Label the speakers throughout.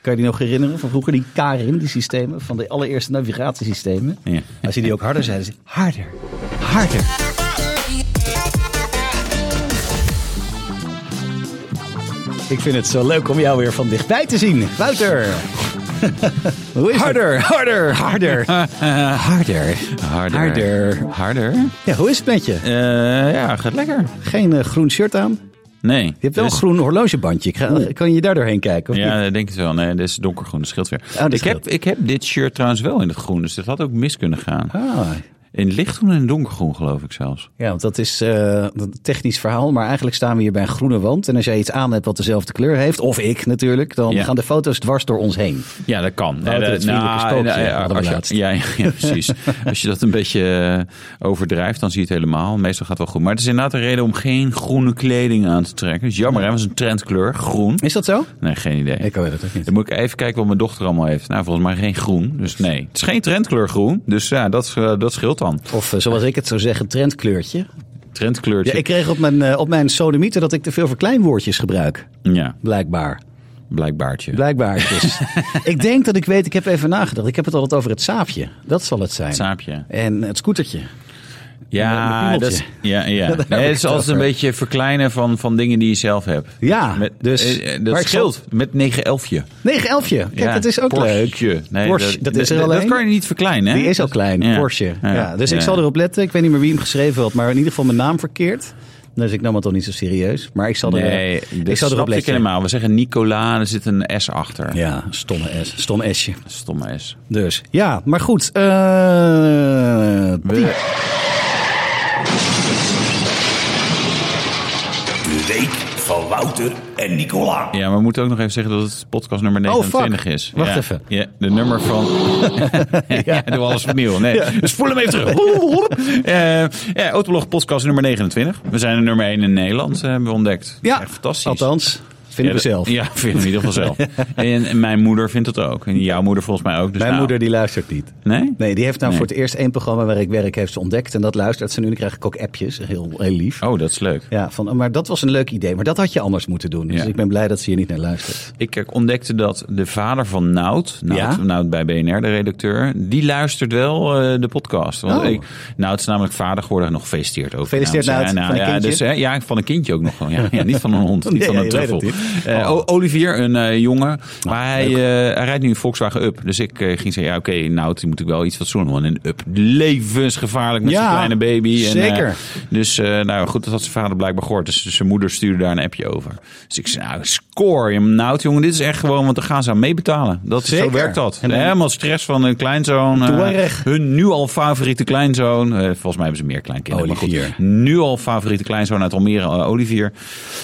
Speaker 1: Kan je die nog herinneren van vroeger? Die Karin, die systemen, van de allereerste navigatiesystemen.
Speaker 2: Ja.
Speaker 1: Als je die ook harder zeiden, ze, harder, harder. Ik vind het zo leuk om jou weer van dichtbij te zien. Wouter! Hoe is het?
Speaker 2: Harder, harder,
Speaker 1: harder, harder,
Speaker 2: Harder.
Speaker 1: harder.
Speaker 2: Harder?
Speaker 1: Ja, hoe is het met je?
Speaker 2: Eh, ja, gaat lekker.
Speaker 1: Geen eh, groen shirt aan. Je
Speaker 2: Nee. Je
Speaker 1: hebt wel een groen horlogebandje. Ik ga- kan je daar doorheen kijken? Of
Speaker 2: Dus- Ja,
Speaker 1: niet?
Speaker 2: dat denk ik wel. Nee, dit is donkergroen. Dat scheelt weer.
Speaker 1: Oh, dat
Speaker 2: ik,
Speaker 1: scheelt.
Speaker 2: Heb, ik heb dit shirt trouwens wel in het groen. Dus dat had ook mis kunnen gaan.
Speaker 1: Ah,
Speaker 2: In lichtgroen en donkergroen geloof ik zelfs.
Speaker 1: ja, want dat is eh, een technisch verhaal. Maar eigenlijk staan we hier bij een groene wand. En als jij iets aan hebt wat dezelfde kleur heeft, of ik natuurlijk, dan
Speaker 2: Ja.
Speaker 1: gaan de foto's dwars door ons heen.
Speaker 2: Ja, dat kan.
Speaker 1: Wouter,
Speaker 2: Eh,
Speaker 1: het vriendelijke spookje, hadden we
Speaker 2: als je-
Speaker 1: laatst.
Speaker 2: ja, ja, ja, precies. als je dat een beetje eh, overdrijft, dan zie je het helemaal. Meestal gaat het wel goed. Maar het is inderdaad een reden om geen groene kleding aan te trekken. Dat is jammer, hè? Want het is een trendkleur. Groen.
Speaker 1: Is dat zo?
Speaker 2: Nee, geen idee.
Speaker 1: Ik weet het ook niet.
Speaker 2: Dan moet ik even kijken wat mijn dochter allemaal heeft. Nou, volgens mij geen groen. Dus nee. Het is geen trendkleur groen. Dus ja, dat, eh, dat scheelt dan.
Speaker 1: Of eh, zoals ik het zou zeggen, trendkleurtje. Ja,
Speaker 2: Trendkleurtje.
Speaker 1: ik kreeg op mijn, eh, op mijn sodomieten dat ik te veel verkleinwoordjes gebruik.
Speaker 2: Ja,
Speaker 1: Blijkbaar.
Speaker 2: blijkbaartje.
Speaker 1: Blijkbaar. Dus. ik denk dat ik weet, ik heb even nagedacht. Ik heb het altijd over het saapje. Dat zal het zijn.
Speaker 2: Saapje.
Speaker 1: En het scootertje. Met
Speaker 2: Ja,
Speaker 1: een
Speaker 2: dat is,
Speaker 1: piemeltje.
Speaker 2: ja, ja.
Speaker 1: heb
Speaker 2: Nee,
Speaker 1: ik
Speaker 2: het is
Speaker 1: het
Speaker 2: altijd een
Speaker 1: over.
Speaker 2: beetje verkleinen van, van dingen die je zelf hebt.
Speaker 1: Ja,
Speaker 2: Met,
Speaker 1: dus.
Speaker 2: eh, eh,
Speaker 1: maar
Speaker 2: dat
Speaker 1: ik zal-
Speaker 2: scheelt. Met 9 11
Speaker 1: 9 11 Kijk,
Speaker 2: Ja,
Speaker 1: dat is ook
Speaker 2: Porsche.
Speaker 1: leuk.
Speaker 2: Nee,
Speaker 1: Porsche, dat, is er al
Speaker 2: Dat
Speaker 1: één.
Speaker 2: kan je niet verkleinen. Hè?
Speaker 1: Die is al klein,
Speaker 2: Ja.
Speaker 1: Porsche. Ja.
Speaker 2: Ja.
Speaker 1: Dus ik
Speaker 2: Ja.
Speaker 1: zal erop letten. Ik weet niet meer wie hem geschreven had, maar in ieder geval mijn naam verkeerd. Dus ik nam het al niet zo serieus. Maar ik zal, er, eh,
Speaker 2: Nee,
Speaker 1: ik zal erop letten.
Speaker 2: helemaal. We zeggen Nicola en er zit een S achter.
Speaker 1: Ja, stomme S. Stom S'je.
Speaker 2: Stomme S.
Speaker 1: Dus ja, maar goed. eh, die-
Speaker 3: De week van Wouter en Nicola.
Speaker 2: Ja, maar we moeten ook nog even zeggen dat het podcast nummer
Speaker 1: Oh, fuck.
Speaker 2: 29 is.
Speaker 1: Wacht
Speaker 2: Ja.
Speaker 1: even.
Speaker 2: Ja, de nummer van... ja, doen we alles opnieuw. Nee, dus spoel hem even terug. Eh, ja, Autoblog podcast nummer 29. We zijn de nummer 1 in Nederland, eh, hebben we ontdekt.
Speaker 1: ja,
Speaker 2: Echt fantastisch.
Speaker 1: Althans,
Speaker 2: Ja,
Speaker 1: vinden we
Speaker 2: dat-
Speaker 1: zelf.
Speaker 2: Ja, vinden we in ieder geval zelf. en, en mijn moeder vindt het ook. En jouw moeder volgens mij ook. Dus
Speaker 1: Mijn
Speaker 2: nou,
Speaker 1: moeder die luistert niet.
Speaker 2: Nee?
Speaker 1: Nee, die heeft nou
Speaker 2: Nee.
Speaker 1: voor het eerst één programma waar ik werk heeft ze ontdekt. En dat luistert ze nu. Dan krijg ik ook appjes. Heel, heel lief.
Speaker 2: Oh, dat is leuk.
Speaker 1: Ja, van, oh, maar dat was een leuk idee. Maar dat had je anders moeten doen. Dus
Speaker 2: Ja.
Speaker 1: ik ben blij dat ze hier niet naar luistert.
Speaker 2: Ik eh, ontdekte dat de vader van Nout, Nout,
Speaker 1: Ja?
Speaker 2: Nout bij BNR, de redacteur, die luistert wel eh, de podcast. Want
Speaker 1: Oh.
Speaker 2: ik, Nout is namelijk vader geworden, nog gefeliciteerd ook.
Speaker 1: Gefeliciteerd,
Speaker 2: Namens-
Speaker 1: Nout,
Speaker 2: Ja,
Speaker 1: van een
Speaker 2: ja,
Speaker 1: kindje.
Speaker 2: dus, hè, ja, van een kindje ook nog. gewoon. Ja, ja, niet van een hond, niet
Speaker 1: Nee,
Speaker 2: van een
Speaker 1: je weet
Speaker 2: truffel.
Speaker 1: het niet.
Speaker 2: Eh,
Speaker 1: Oh. Ah,
Speaker 2: O- Olivier, een eh, jongen, maar hij, eh, hij rijdt nu een Volkswagen Up. Dus ik eh, ging zeggen, ja oké, Nout, die moet ik wel iets wat zoenen. Want een Up, levensgevaarlijk met
Speaker 1: Ja,
Speaker 2: zijn kleine baby. En, eh,
Speaker 1: zeker.
Speaker 2: dus eh, nou goed, dat had zijn vader blijkbaar gehoord. Dus zijn moeder stuurde daar een appje over. Dus ik zei, nou, score je hem nou, jongen. Dit is echt gewoon, want dan gaan ze aan meebetalen. Dat, zo
Speaker 1: Zeker.
Speaker 2: werkt dat.
Speaker 1: En dan-
Speaker 2: Helemaal stress van hun kleinzoon. eh,
Speaker 1: Toerig.
Speaker 2: hun nu al favoriete kleinzoon. Eh, volgens mij hebben ze meer kleinkinderen. maar goed,
Speaker 1: Olivier.
Speaker 2: nu al favoriete kleinzoon uit Almere, eh, Olivier.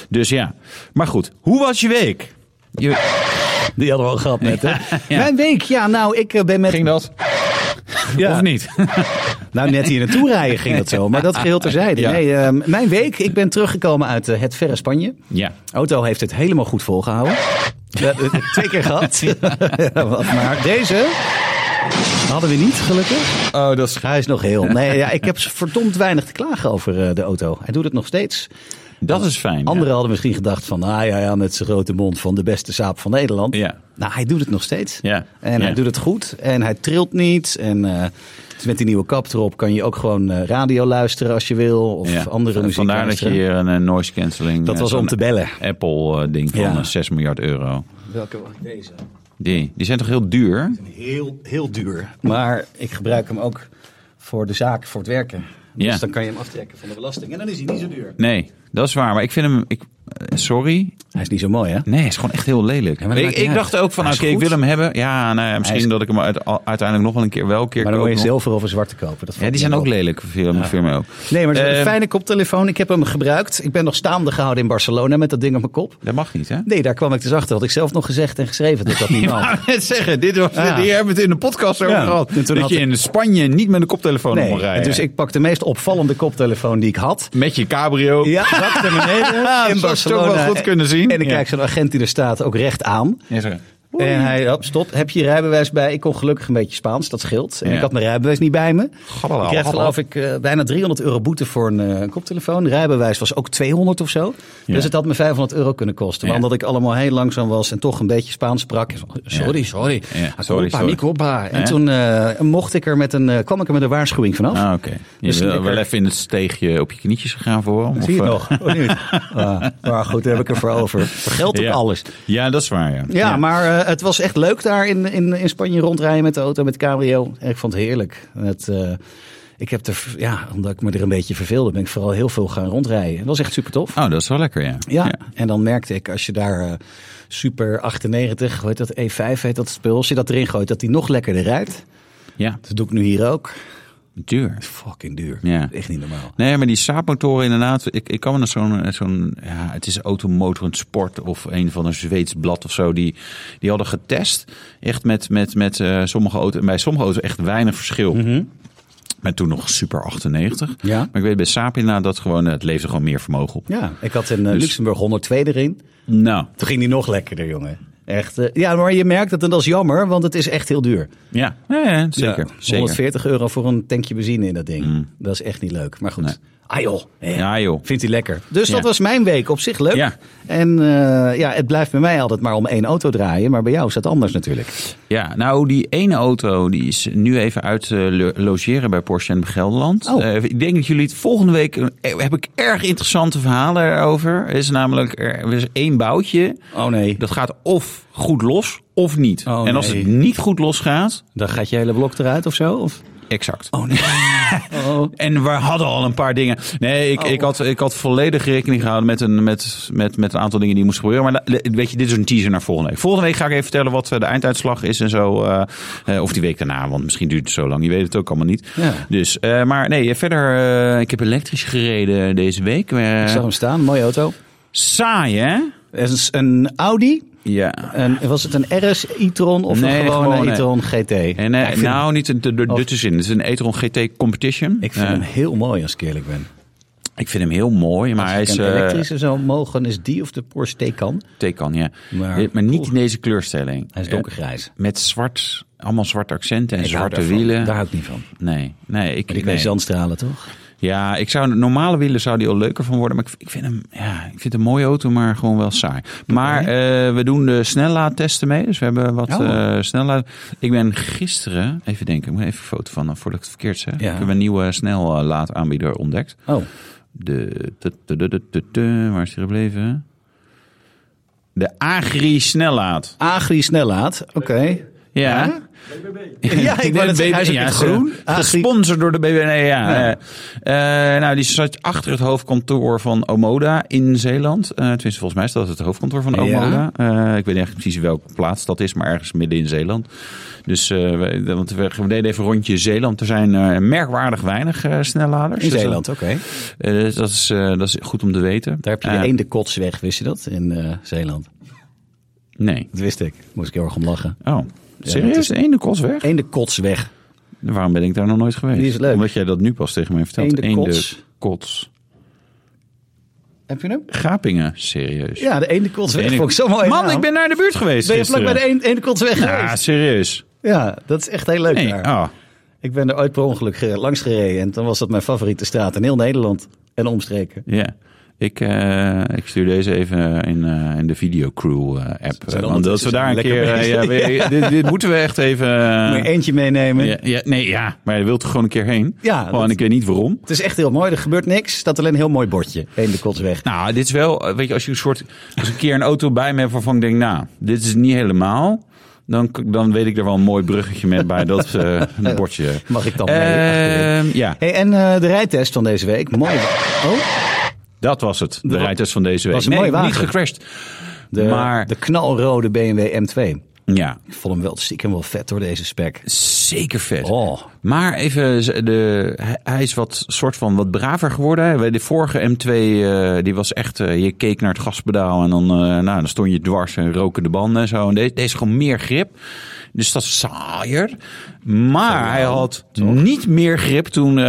Speaker 2: Dus ja. Maar goed, hoe was je week? Je,
Speaker 1: Die hadden we al gehad net, hè? Mijn week, ja, nou, ik eh, ben met...
Speaker 2: ging dat?
Speaker 1: Ja.
Speaker 2: Of niet?
Speaker 1: Nou, net hier naartoe rijden ging dat zo. Maar dat geheel terzijde.
Speaker 2: Ja.
Speaker 1: Nee, eh, mijn week, ik ben teruggekomen uit eh, het verre Spanje.
Speaker 2: ja.
Speaker 1: Auto heeft het helemaal goed volgehouden. Ja, eh, Twee keer gehad. maar deze hadden we niet, gelukkig.
Speaker 2: Oh, dat is...
Speaker 1: Hij is nog heel. Nee, ja, ik heb verdomd weinig te klagen over eh, de auto. Hij doet het nog steeds.
Speaker 2: Dat is fijn. ja.
Speaker 1: Anderen hadden misschien gedacht van, ah ja, ja, met zijn grote mond van de beste saap van Nederland.
Speaker 2: Ja.
Speaker 1: Nou, hij doet het nog steeds.
Speaker 2: Ja.
Speaker 1: En hij
Speaker 2: Ja.
Speaker 1: doet het goed. En hij trilt niet. En eh, dus met die nieuwe kap erop kan je ook gewoon eh, radio luisteren als je wil. Of
Speaker 2: Ja.
Speaker 1: andere muziek
Speaker 2: Vandaar dat je
Speaker 1: luisteren.
Speaker 2: hier een eh, noise cancelling...
Speaker 1: Dat
Speaker 2: eh,
Speaker 1: was om
Speaker 2: zo'n
Speaker 1: te bellen.
Speaker 2: Apple-ding van
Speaker 1: Ja.
Speaker 2: eh, 6 miljard euro.
Speaker 1: Welke was deze?
Speaker 2: Die, die zijn toch heel duur?
Speaker 1: Heel, heel duur. Maar ik gebruik hem ook voor de zaak, voor het werken. Dus
Speaker 2: Ja.
Speaker 1: dan kan je hem aftrekken van de belasting. En dan is hij niet zo duur.
Speaker 2: Nee, dat is waar. Maar ik vind hem... Ik, eh, sorry.
Speaker 1: Hij is niet zo mooi, hè?
Speaker 2: Nee, hij is gewoon echt heel lelijk.
Speaker 1: maar dat
Speaker 2: ik
Speaker 1: maakt niet
Speaker 2: ik
Speaker 1: uit.
Speaker 2: dacht ook van,
Speaker 1: Hij
Speaker 2: oké,
Speaker 1: is
Speaker 2: ik
Speaker 1: goed.
Speaker 2: wil hem hebben. Ja, nou, ja, misschien
Speaker 1: Hij is-
Speaker 2: dat ik hem uit- al- uiteindelijk nog wel een keer wel een keer
Speaker 1: Maar dan
Speaker 2: koop
Speaker 1: moet je
Speaker 2: nog.
Speaker 1: zilver of een zwarte kopen. Dat
Speaker 2: Ja, die zijn ook lelijk, veel veel mij ook.
Speaker 1: Nee, maar het is een
Speaker 2: Eh,
Speaker 1: fijne koptelefoon. Ik heb hem gebruikt. Ik ben nog staande gehouden in Barcelona met dat ding op mijn kop.
Speaker 2: Dat mag niet, hè?
Speaker 1: Nee, daar kwam ik dus achter. Had ik zelf nog gezegd en geschreven dat ik dat niet
Speaker 2: Ik
Speaker 1: mag.
Speaker 2: wou net zeggen, dit was,
Speaker 1: Ja.
Speaker 2: hier hebben we het in de podcast over
Speaker 1: Ja.
Speaker 2: gehad.
Speaker 1: En toen
Speaker 2: Dat
Speaker 1: had
Speaker 2: je
Speaker 1: ik-
Speaker 2: in Spanje niet met een koptelefoon op mag
Speaker 1: Nee,
Speaker 2: rijden.
Speaker 1: dus ik pak de meest opvallende koptelefoon die ik had.
Speaker 2: Met je cabrio.
Speaker 1: Ja, zak naar beneden
Speaker 2: zou
Speaker 1: in
Speaker 2: ik toch
Speaker 1: Barcelona.
Speaker 2: wel goed kunnen zien.
Speaker 1: En ik
Speaker 2: Ja.
Speaker 1: kijk zo'n agent die er staat ook recht aan.
Speaker 2: Ja, sorry.
Speaker 1: En hij, hop, stop, heb je je rijbewijs bij? Ik kon gelukkig een beetje Spaans, dat scheelt. En
Speaker 2: Ja.
Speaker 1: ik had mijn rijbewijs niet bij me.
Speaker 2: Gabbelaal,
Speaker 1: ik kreeg
Speaker 2: gabbelaal.
Speaker 1: geloof ik eh, bijna 300 euro boete voor een eh, een koptelefoon. Rijbewijs was ook 200 of zo.
Speaker 2: Ja.
Speaker 1: Dus het had me 500 euro kunnen kosten. Maar
Speaker 2: Ja.
Speaker 1: omdat ik allemaal heel langzaam was en toch een beetje Spaans sprak. Sorry, sorry.
Speaker 2: Ja,
Speaker 1: Ah,
Speaker 2: sorry,
Speaker 1: compa,
Speaker 2: sorry.
Speaker 1: mi compa. En
Speaker 2: Ja.
Speaker 1: toen eh, mocht ik er met een, eh, kwam ik er met een waarschuwing vanaf.
Speaker 2: Ah, oké. Je
Speaker 1: Dus
Speaker 2: wil
Speaker 1: ik-
Speaker 2: wel even in het steegje op je knietjes gegaan voor hem?
Speaker 1: Zie je
Speaker 2: of,
Speaker 1: het
Speaker 2: eh,
Speaker 1: nog? Of niet? Ah, maar goed, daar heb ik er voor over. Er geldt ook
Speaker 2: ja.
Speaker 1: alles.
Speaker 2: Ja, dat is waar, ja.
Speaker 1: Ja, maar eh, het was echt leuk daar in, in, in Spanje rondrijden met de auto, met de cabrio. En ik vond het heerlijk. En Het, eh, ik heb er, ja, omdat ik me er een beetje verveelde, ben ik vooral heel veel gaan rondrijden. Het was echt super tof.
Speaker 2: Oh, dat is wel lekker, ja.
Speaker 1: Ja, en dan merkte ik als je daar eh, super 98, hoe heet dat, E5 heet dat spul. Als je dat erin gooit, dat die nog lekkerder rijdt.
Speaker 2: Ja,
Speaker 1: Dat doe ik nu hier ook.
Speaker 2: duur.
Speaker 1: Fucking duur.
Speaker 2: Ja.
Speaker 1: Echt niet normaal.
Speaker 2: Nee, maar die Saab-motoren inderdaad. Ik, ik kan me nog zo'n, eh, zo'n ja, het is automotorend sport of een van een Zweeds blad of zo. Die, die hadden getest. Echt met, met, met eh, sommige auto's, bij sommige auto's echt weinig verschil. Met toen nog Super 98.
Speaker 1: Mhm. Ja.
Speaker 2: Maar ik weet bij Saab inderdaad dat gewoon, eh, het leefde gewoon meer vermogen op.
Speaker 1: Ja, ik had in eh,
Speaker 2: Dus-
Speaker 1: Luxemburg 102 erin.
Speaker 2: Nou,
Speaker 1: Toen ging die nog lekkerder, jongen. Echt. eh, ja, maar je merkt het en dat is jammer, want het is echt heel duur.
Speaker 2: ja, ja, ja, zeker.
Speaker 1: Ja,
Speaker 2: zeker.
Speaker 1: 140 euro voor een tankje benzine in dat ding. Dat is echt niet leuk. Maar goed.
Speaker 2: Nee.
Speaker 1: Ah joh. Hè.
Speaker 2: Ja, joh.
Speaker 1: Vindt hij lekker. Dus dat
Speaker 2: Ja.
Speaker 1: was mijn week. Op zich leuk.
Speaker 2: Ja.
Speaker 1: En eh, ja, het blijft bij mij altijd maar om één auto draaien. Maar bij jou is dat anders natuurlijk.
Speaker 2: Ja, nou die ene auto die is nu even uit eh, lo- logeren bij Porsche in Gelderland.
Speaker 1: Oh.
Speaker 2: Eh, ik denk dat jullie het volgende week eh, heb ik erg interessante verhalen erover. Er is namelijk er is één boutje.
Speaker 1: Oh nee.
Speaker 2: Dat gaat of goed los of niet.
Speaker 1: Oh,
Speaker 2: en als
Speaker 1: nee.
Speaker 2: het niet goed los gaat,
Speaker 1: Dan gaat je hele blok eruit of zo? Of?
Speaker 2: exact.
Speaker 1: Oh nee. oh.
Speaker 2: En we hadden al een paar dingen. Nee, ik,
Speaker 1: Oh.
Speaker 2: ik, had, ik had volledig rekening gehouden met een, met, met, met een aantal dingen die moesten gebeuren. Maar la- weet je, dit is een teaser naar volgende week. Volgende week ga ik even vertellen wat eh, de einduitslag is en zo. eh, eh, of die week daarna, want misschien duurt het zo lang. Je weet het ook allemaal niet.
Speaker 1: Ja.
Speaker 2: Dus, eh, maar nee, verder. eh, ik heb elektrisch gereden deze week. Eh,
Speaker 1: Ik zag hem staan. Mooie auto.
Speaker 2: saai, hè?
Speaker 1: Er is een Audi.
Speaker 2: Ja.
Speaker 1: Een, was het een RS e-tron of
Speaker 2: Nee,
Speaker 1: een gewone
Speaker 2: gewoon, eh,
Speaker 1: e-tron GT?
Speaker 2: En, eh,
Speaker 1: Ja, ik vind,
Speaker 2: nou, niet de, de, de,
Speaker 1: Of-
Speaker 2: tussenin. Het is een Etron GT Competition.
Speaker 1: ik vind
Speaker 2: Eh,
Speaker 1: hem heel mooi als ik eerlijk ben.
Speaker 2: ik vind hem heel mooi, maar
Speaker 1: Als
Speaker 2: hij
Speaker 1: ik
Speaker 2: is...
Speaker 1: een
Speaker 2: eh,
Speaker 1: elektrische zou mogen, is die of de Porsche Taycan.
Speaker 2: Taycan, ja. Eh,
Speaker 1: Maar-
Speaker 2: Maar, niet in deze kleurstelling.
Speaker 1: Hij is
Speaker 2: Eh,
Speaker 1: donkergrijs.
Speaker 2: Met zwart, allemaal zwart accenten en
Speaker 1: Ik hou
Speaker 2: zwarte
Speaker 1: daarvan.
Speaker 2: wielen.
Speaker 1: Daar hou ik niet van.
Speaker 2: Nee, nee. Ik,
Speaker 1: Die
Speaker 2: nee.
Speaker 1: twee zandstralen, toch?
Speaker 2: Ja, ik zou, normale wielen zou die al leuker van worden. Maar ik, ik, vind hem, ja, ik vind het een mooie auto, maar gewoon wel saai. Maar eh, we doen de snellaadtesten mee. Dus we hebben wat
Speaker 1: Oh.
Speaker 2: eh, snellaad. Ik ben gisteren, even denken, ik moet even een foto van eh, voordat ik het verkeerd zeg.
Speaker 1: Ja.
Speaker 2: Ik heb een nieuwe snellaadaanbieder ontdekt.
Speaker 1: Oh,
Speaker 2: De, tu- tu- tu- tu- tu- tu- waar is die gebleven? De Agri Snellaad.
Speaker 1: Agri snellaad. Oké.
Speaker 2: Ja.
Speaker 1: Ja, ik wou net zeggen, hij is ook in het groen. Ah,
Speaker 2: Ja, Gesponsord door de BBN. Ja, Eh, eh, nou, die zat achter het hoofdkantoor van Omoda in Zeeland. Eh tenminste, volgens mij is dat het hoofdkantoor van
Speaker 1: Ja.
Speaker 2: Omoda. Eh, ik weet niet echt precies welke plaats dat is, maar ergens midden in Zeeland. Dus eh, wij- want we, we deden even een rondje Zeeland. Er zijn eh, merkwaardig weinig eh, snelladers.
Speaker 1: In
Speaker 2: Dus, eh,
Speaker 1: Zeeland, oké. Ah,
Speaker 2: eh, dus dat, is, eh, dat is goed om te weten.
Speaker 1: Daar heb je
Speaker 2: Eh,
Speaker 1: de eendenkots weg, wist je dat? In eh, Zeeland.
Speaker 2: Nee.
Speaker 1: Dat wist ik. Moest ik heel erg om lachen.
Speaker 2: Oh, serieus?
Speaker 1: dat is-
Speaker 2: de ene kost weg?
Speaker 1: Eendenkotsweg.
Speaker 2: Waarom ben ik daar nog nooit geweest?
Speaker 1: Die is leuk.
Speaker 2: Omdat jij dat nu pas tegen mij vertelt.
Speaker 1: Eende kots.
Speaker 2: Eende kots.
Speaker 1: Heb je hem?
Speaker 2: Gapingen, serieus.
Speaker 1: Ja, de eendenkotsweg.
Speaker 2: Eende-
Speaker 1: Vond ik zo mooi.
Speaker 2: Man,
Speaker 1: naam.
Speaker 2: ik ben naar de buurt geweest
Speaker 1: Ben je vlak
Speaker 2: gisteren.
Speaker 1: bij de een- eendenkotsweg
Speaker 2: Ja,
Speaker 1: geweest?
Speaker 2: serieus.
Speaker 1: Ja, dat is echt heel leuk
Speaker 2: Nee,
Speaker 1: daar.
Speaker 2: oh.
Speaker 1: Ik ben er ooit per ongeluk ge- langs gereden. En toen was dat mijn favoriete straat in heel Nederland. En omstreken.
Speaker 2: Ja. Ik, eh, ik stuur deze even in, eh, in de videocrew-app.
Speaker 1: Zijn
Speaker 2: want dat we
Speaker 1: ondertussen
Speaker 2: daar een
Speaker 1: dus lekker
Speaker 2: keer... eh,
Speaker 1: bezig.
Speaker 2: ja, we- dit, dit moeten we echt even... eh,
Speaker 1: Moet je eentje meenemen.
Speaker 2: ja, ja, nee, ja. Maar je wilt er gewoon een keer heen.
Speaker 1: Ja,
Speaker 2: Gewoon,
Speaker 1: dat-
Speaker 2: ik weet niet waarom.
Speaker 1: Het is echt heel mooi. Er gebeurt niks. Er staat alleen een heel mooi bordje. Eendenkotsweg.
Speaker 2: Nou, dit is wel, eh, weet je, als je een soort, als ik een keer een auto bij me heb waarvan ik denk, nou, dit is niet helemaal, dan, k- dan weet ik er wel een mooi bruggetje met bij dat eh, bordje.
Speaker 1: Mag ik dan mee achterin?
Speaker 2: Ehm, ja,
Speaker 1: Hey, en eh, de rijtest van deze week. Mooi. Oh,
Speaker 2: dat was het. De
Speaker 1: wa-
Speaker 2: rijtest van deze week.
Speaker 1: was een
Speaker 2: nee,
Speaker 1: mooie wagen.
Speaker 2: niet gecrashed.
Speaker 1: de,
Speaker 2: maar
Speaker 1: de knalrode BMW M2.
Speaker 2: ja,
Speaker 1: Ik vond hem wel stiekem wel vet door deze spec.
Speaker 2: zeker vet.
Speaker 1: Oh.
Speaker 2: Maar even, z- de, hij- hij is wat soort van wat braver geworden. Bij de vorige M2, eh, die was echt, eh, je keek naar het gaspedaal en dan, eh, nou, dan stond je dwars en roken de banden en zo. En deze, deze is gewoon meer grip. Dus dat is saaier. Maar hij had niet meer grip toen eh,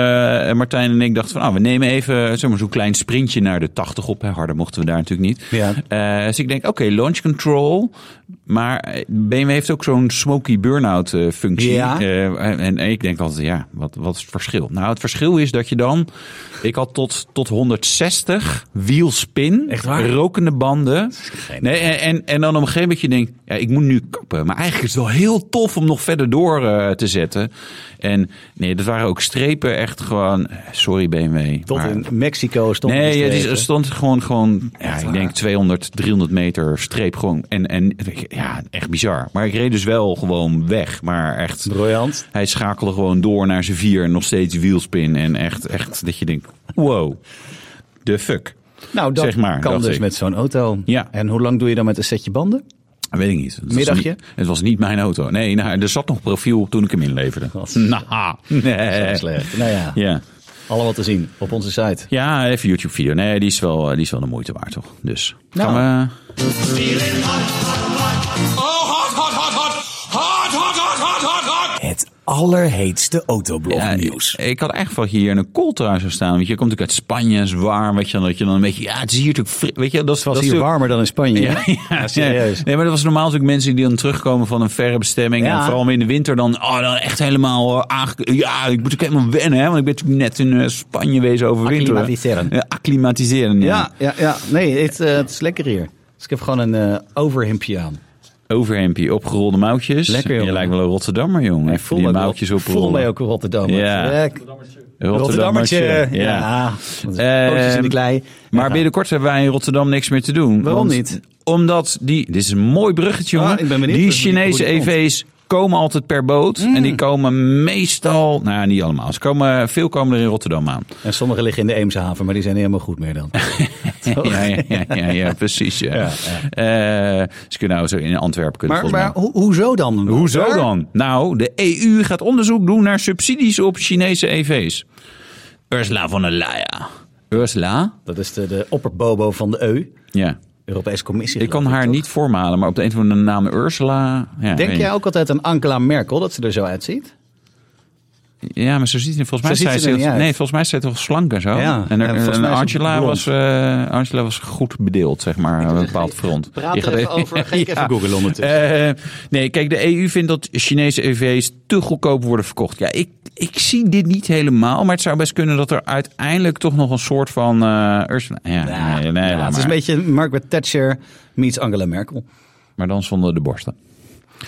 Speaker 2: Martijn en ik dachten van, nou, we nemen even zeg maar, zo'n klein sprintje naar de 80 op. Hè. Harder mochten we daar natuurlijk niet.
Speaker 1: Ja.
Speaker 2: Eh, dus ik denk, oké, launch control. Maar eh, BMW heeft ook zo'n smoky burn-out eh, functie.
Speaker 1: Ja.
Speaker 2: Eh, en, en ik denk altijd, ja, wat, wat is het verschil? Nou, het verschil is dat je dan... Ik had tot, tot 160 wielspin,
Speaker 1: Echt waar?
Speaker 2: rokende banden. Nee, en, en, en dan op een gegeven moment je denkt, ja, ik moet nu kappen. Maar eigenlijk is het wel heel tof om nog verder door eh, te zetten. En nee, dat waren ook strepen echt gewoon... eh, Sorry BMW.
Speaker 1: Tot
Speaker 2: maar-
Speaker 1: in Mexico stond
Speaker 2: Nee,
Speaker 1: die
Speaker 2: het is-
Speaker 1: streep,
Speaker 2: er
Speaker 1: hè?
Speaker 2: stond gewoon, gewoon ja,
Speaker 1: Echt
Speaker 2: ik
Speaker 1: waar?
Speaker 2: denk 200, 300 meter streep. Gewoon. En, en ja, echt bizar. Maar ik reed dus wel gewoon weg. Maar echt,
Speaker 1: Briljant.
Speaker 2: hij schakelde gewoon door naar zijn vier. en Nog steeds wielspin. En echt, echt dat je denkt, wow, de fuck.
Speaker 1: Nou, dat
Speaker 2: Zeg maar,
Speaker 1: kan
Speaker 2: dacht
Speaker 1: dus
Speaker 2: ik.
Speaker 1: met zo'n auto.
Speaker 2: Ja.
Speaker 1: En hoe lang doe je dan met een setje banden?
Speaker 2: Weet ik niet. Het was
Speaker 1: Middagje?
Speaker 2: niet- het was niet mijn auto. Nee, nou, er zat nog profiel op toen ik hem inleverde.
Speaker 1: Wat?
Speaker 2: Nou, nee.
Speaker 1: Slecht. Nou ja,
Speaker 2: Ja.
Speaker 1: allemaal te zien op onze site.
Speaker 2: ja, even YouTube video. Nee, die is wel, die is wel de moeite waard, toch? Dus
Speaker 1: Nou.
Speaker 2: gaan we...
Speaker 3: Oh, hot, hot, hot, hot. Hot, hot, hot, hot, hot, hot.
Speaker 4: Het allerheetste
Speaker 2: Ja,
Speaker 4: autoblognieuws.
Speaker 2: Ik, ik had echt wel hier in een kooltrui zou staan. Want je komt natuurlijk uit Spanje, is warm. Weet je, dan, dat je dan een beetje. Ja, het is hier natuurlijk. fri- Weet je, dat is
Speaker 1: Het was
Speaker 2: dat is
Speaker 1: hier
Speaker 2: natuurlijk-
Speaker 1: warmer dan in Spanje.
Speaker 2: Ja,
Speaker 1: hè?
Speaker 2: ja,
Speaker 1: serieus.
Speaker 2: Nee, maar dat was normaal natuurlijk mensen die dan terugkomen van een verre bestemming.
Speaker 1: Ja.
Speaker 2: En vooral in de winter dan, oh, dan echt helemaal eh, aange... Ja, ik moet ook helemaal wennen, hè, want ik ben natuurlijk net in eh, Spanje wezen over winter.
Speaker 1: Acclimatiseren.
Speaker 2: Ja, acclimatiseren, ja.
Speaker 1: Ja, ja, ja. Nee, het, eh, het is lekker hier. Dus ik heb gewoon een eh overhemdje aan.
Speaker 2: Overhempje, opgerolde mouwtjes.
Speaker 1: Lekker, jongen.
Speaker 2: Je lijkt wel een Rotterdammer, jongen.
Speaker 1: Ik
Speaker 2: Even die
Speaker 1: me ook
Speaker 2: mouwtjes
Speaker 1: wel-
Speaker 2: oprollen.
Speaker 1: voel mij ook een Rotterdammer.
Speaker 2: Ja.
Speaker 1: Lek-
Speaker 2: Rotterdammertje.
Speaker 1: Ja. Want pootjes in de klei.
Speaker 2: Ehm, Maar
Speaker 1: Ja.
Speaker 2: binnenkort hebben wij in Rotterdam niks meer te doen.
Speaker 1: Waarom
Speaker 2: Want-
Speaker 1: niet?
Speaker 2: Omdat die. Dit is een mooi bruggetje, jongen.
Speaker 1: Ah, ik ben benieuwd
Speaker 2: die
Speaker 1: hoe die-
Speaker 2: Chinese
Speaker 1: hoe die komt.
Speaker 2: EV's komen altijd per boot. En
Speaker 1: Mm.
Speaker 2: die komen meestal. Nou, niet allemaal. Ze komen, veel komen er in Rotterdam aan.
Speaker 1: En sommige liggen in de Eemshaven, maar die zijn niet helemaal goed meer dan. Toch?
Speaker 2: Ja, ja, ja, ja, ja, precies. Ja. Eh, ze kunnen nou zo in Antwerpen kunnen.
Speaker 1: Maar,
Speaker 2: volgens
Speaker 1: maar
Speaker 2: mij.
Speaker 1: ho- hoezo dan?
Speaker 2: Hoezo
Speaker 1: Daar?
Speaker 2: dan? Nou, de EU gaat onderzoek doen naar subsidies op Chinese E EV's. Ursula von der Leyen. Ursula?
Speaker 1: Dat is de, de opperbobo van de EU,
Speaker 2: Ja.
Speaker 1: Europese Commissie.
Speaker 2: Ik kan
Speaker 1: geloof
Speaker 2: haar
Speaker 1: toch?
Speaker 2: niet voormalen, maar op de een of andere naam Ursula. Ja,
Speaker 1: Denk
Speaker 2: weet
Speaker 1: jij ook altijd aan Angela Merkel, dat ze er zo uitziet?
Speaker 2: niet. Ja, maar zo ziet ze volgens mij.
Speaker 1: Zo ziet
Speaker 2: zij
Speaker 1: ze er niet
Speaker 2: ze-
Speaker 1: uit.
Speaker 2: nee, volgens mij is ze toch slank en zo.
Speaker 1: Ja,
Speaker 2: en er-
Speaker 1: en volgens
Speaker 2: en
Speaker 1: mij is ze
Speaker 2: Angela,
Speaker 1: blond.
Speaker 2: was, eh, Angela was goed bedeeld, zeg maar, op een bepaald front.
Speaker 1: praat
Speaker 2: Je
Speaker 1: er even over, ga ik even googlen
Speaker 2: Eh, nee, kijk, de EU vindt dat Chinese EV's te goedkoop worden verkocht. Ja, ik, ik zie dit niet helemaal, maar het zou best kunnen dat er uiteindelijk toch nog een soort van eh, Ursula. Ja, nee, nee,
Speaker 1: Nou, Ja,
Speaker 2: laat
Speaker 1: het is een
Speaker 2: maar.
Speaker 1: beetje Margaret Thatcher meets Angela Merkel.
Speaker 2: maar dan zonder de borsten.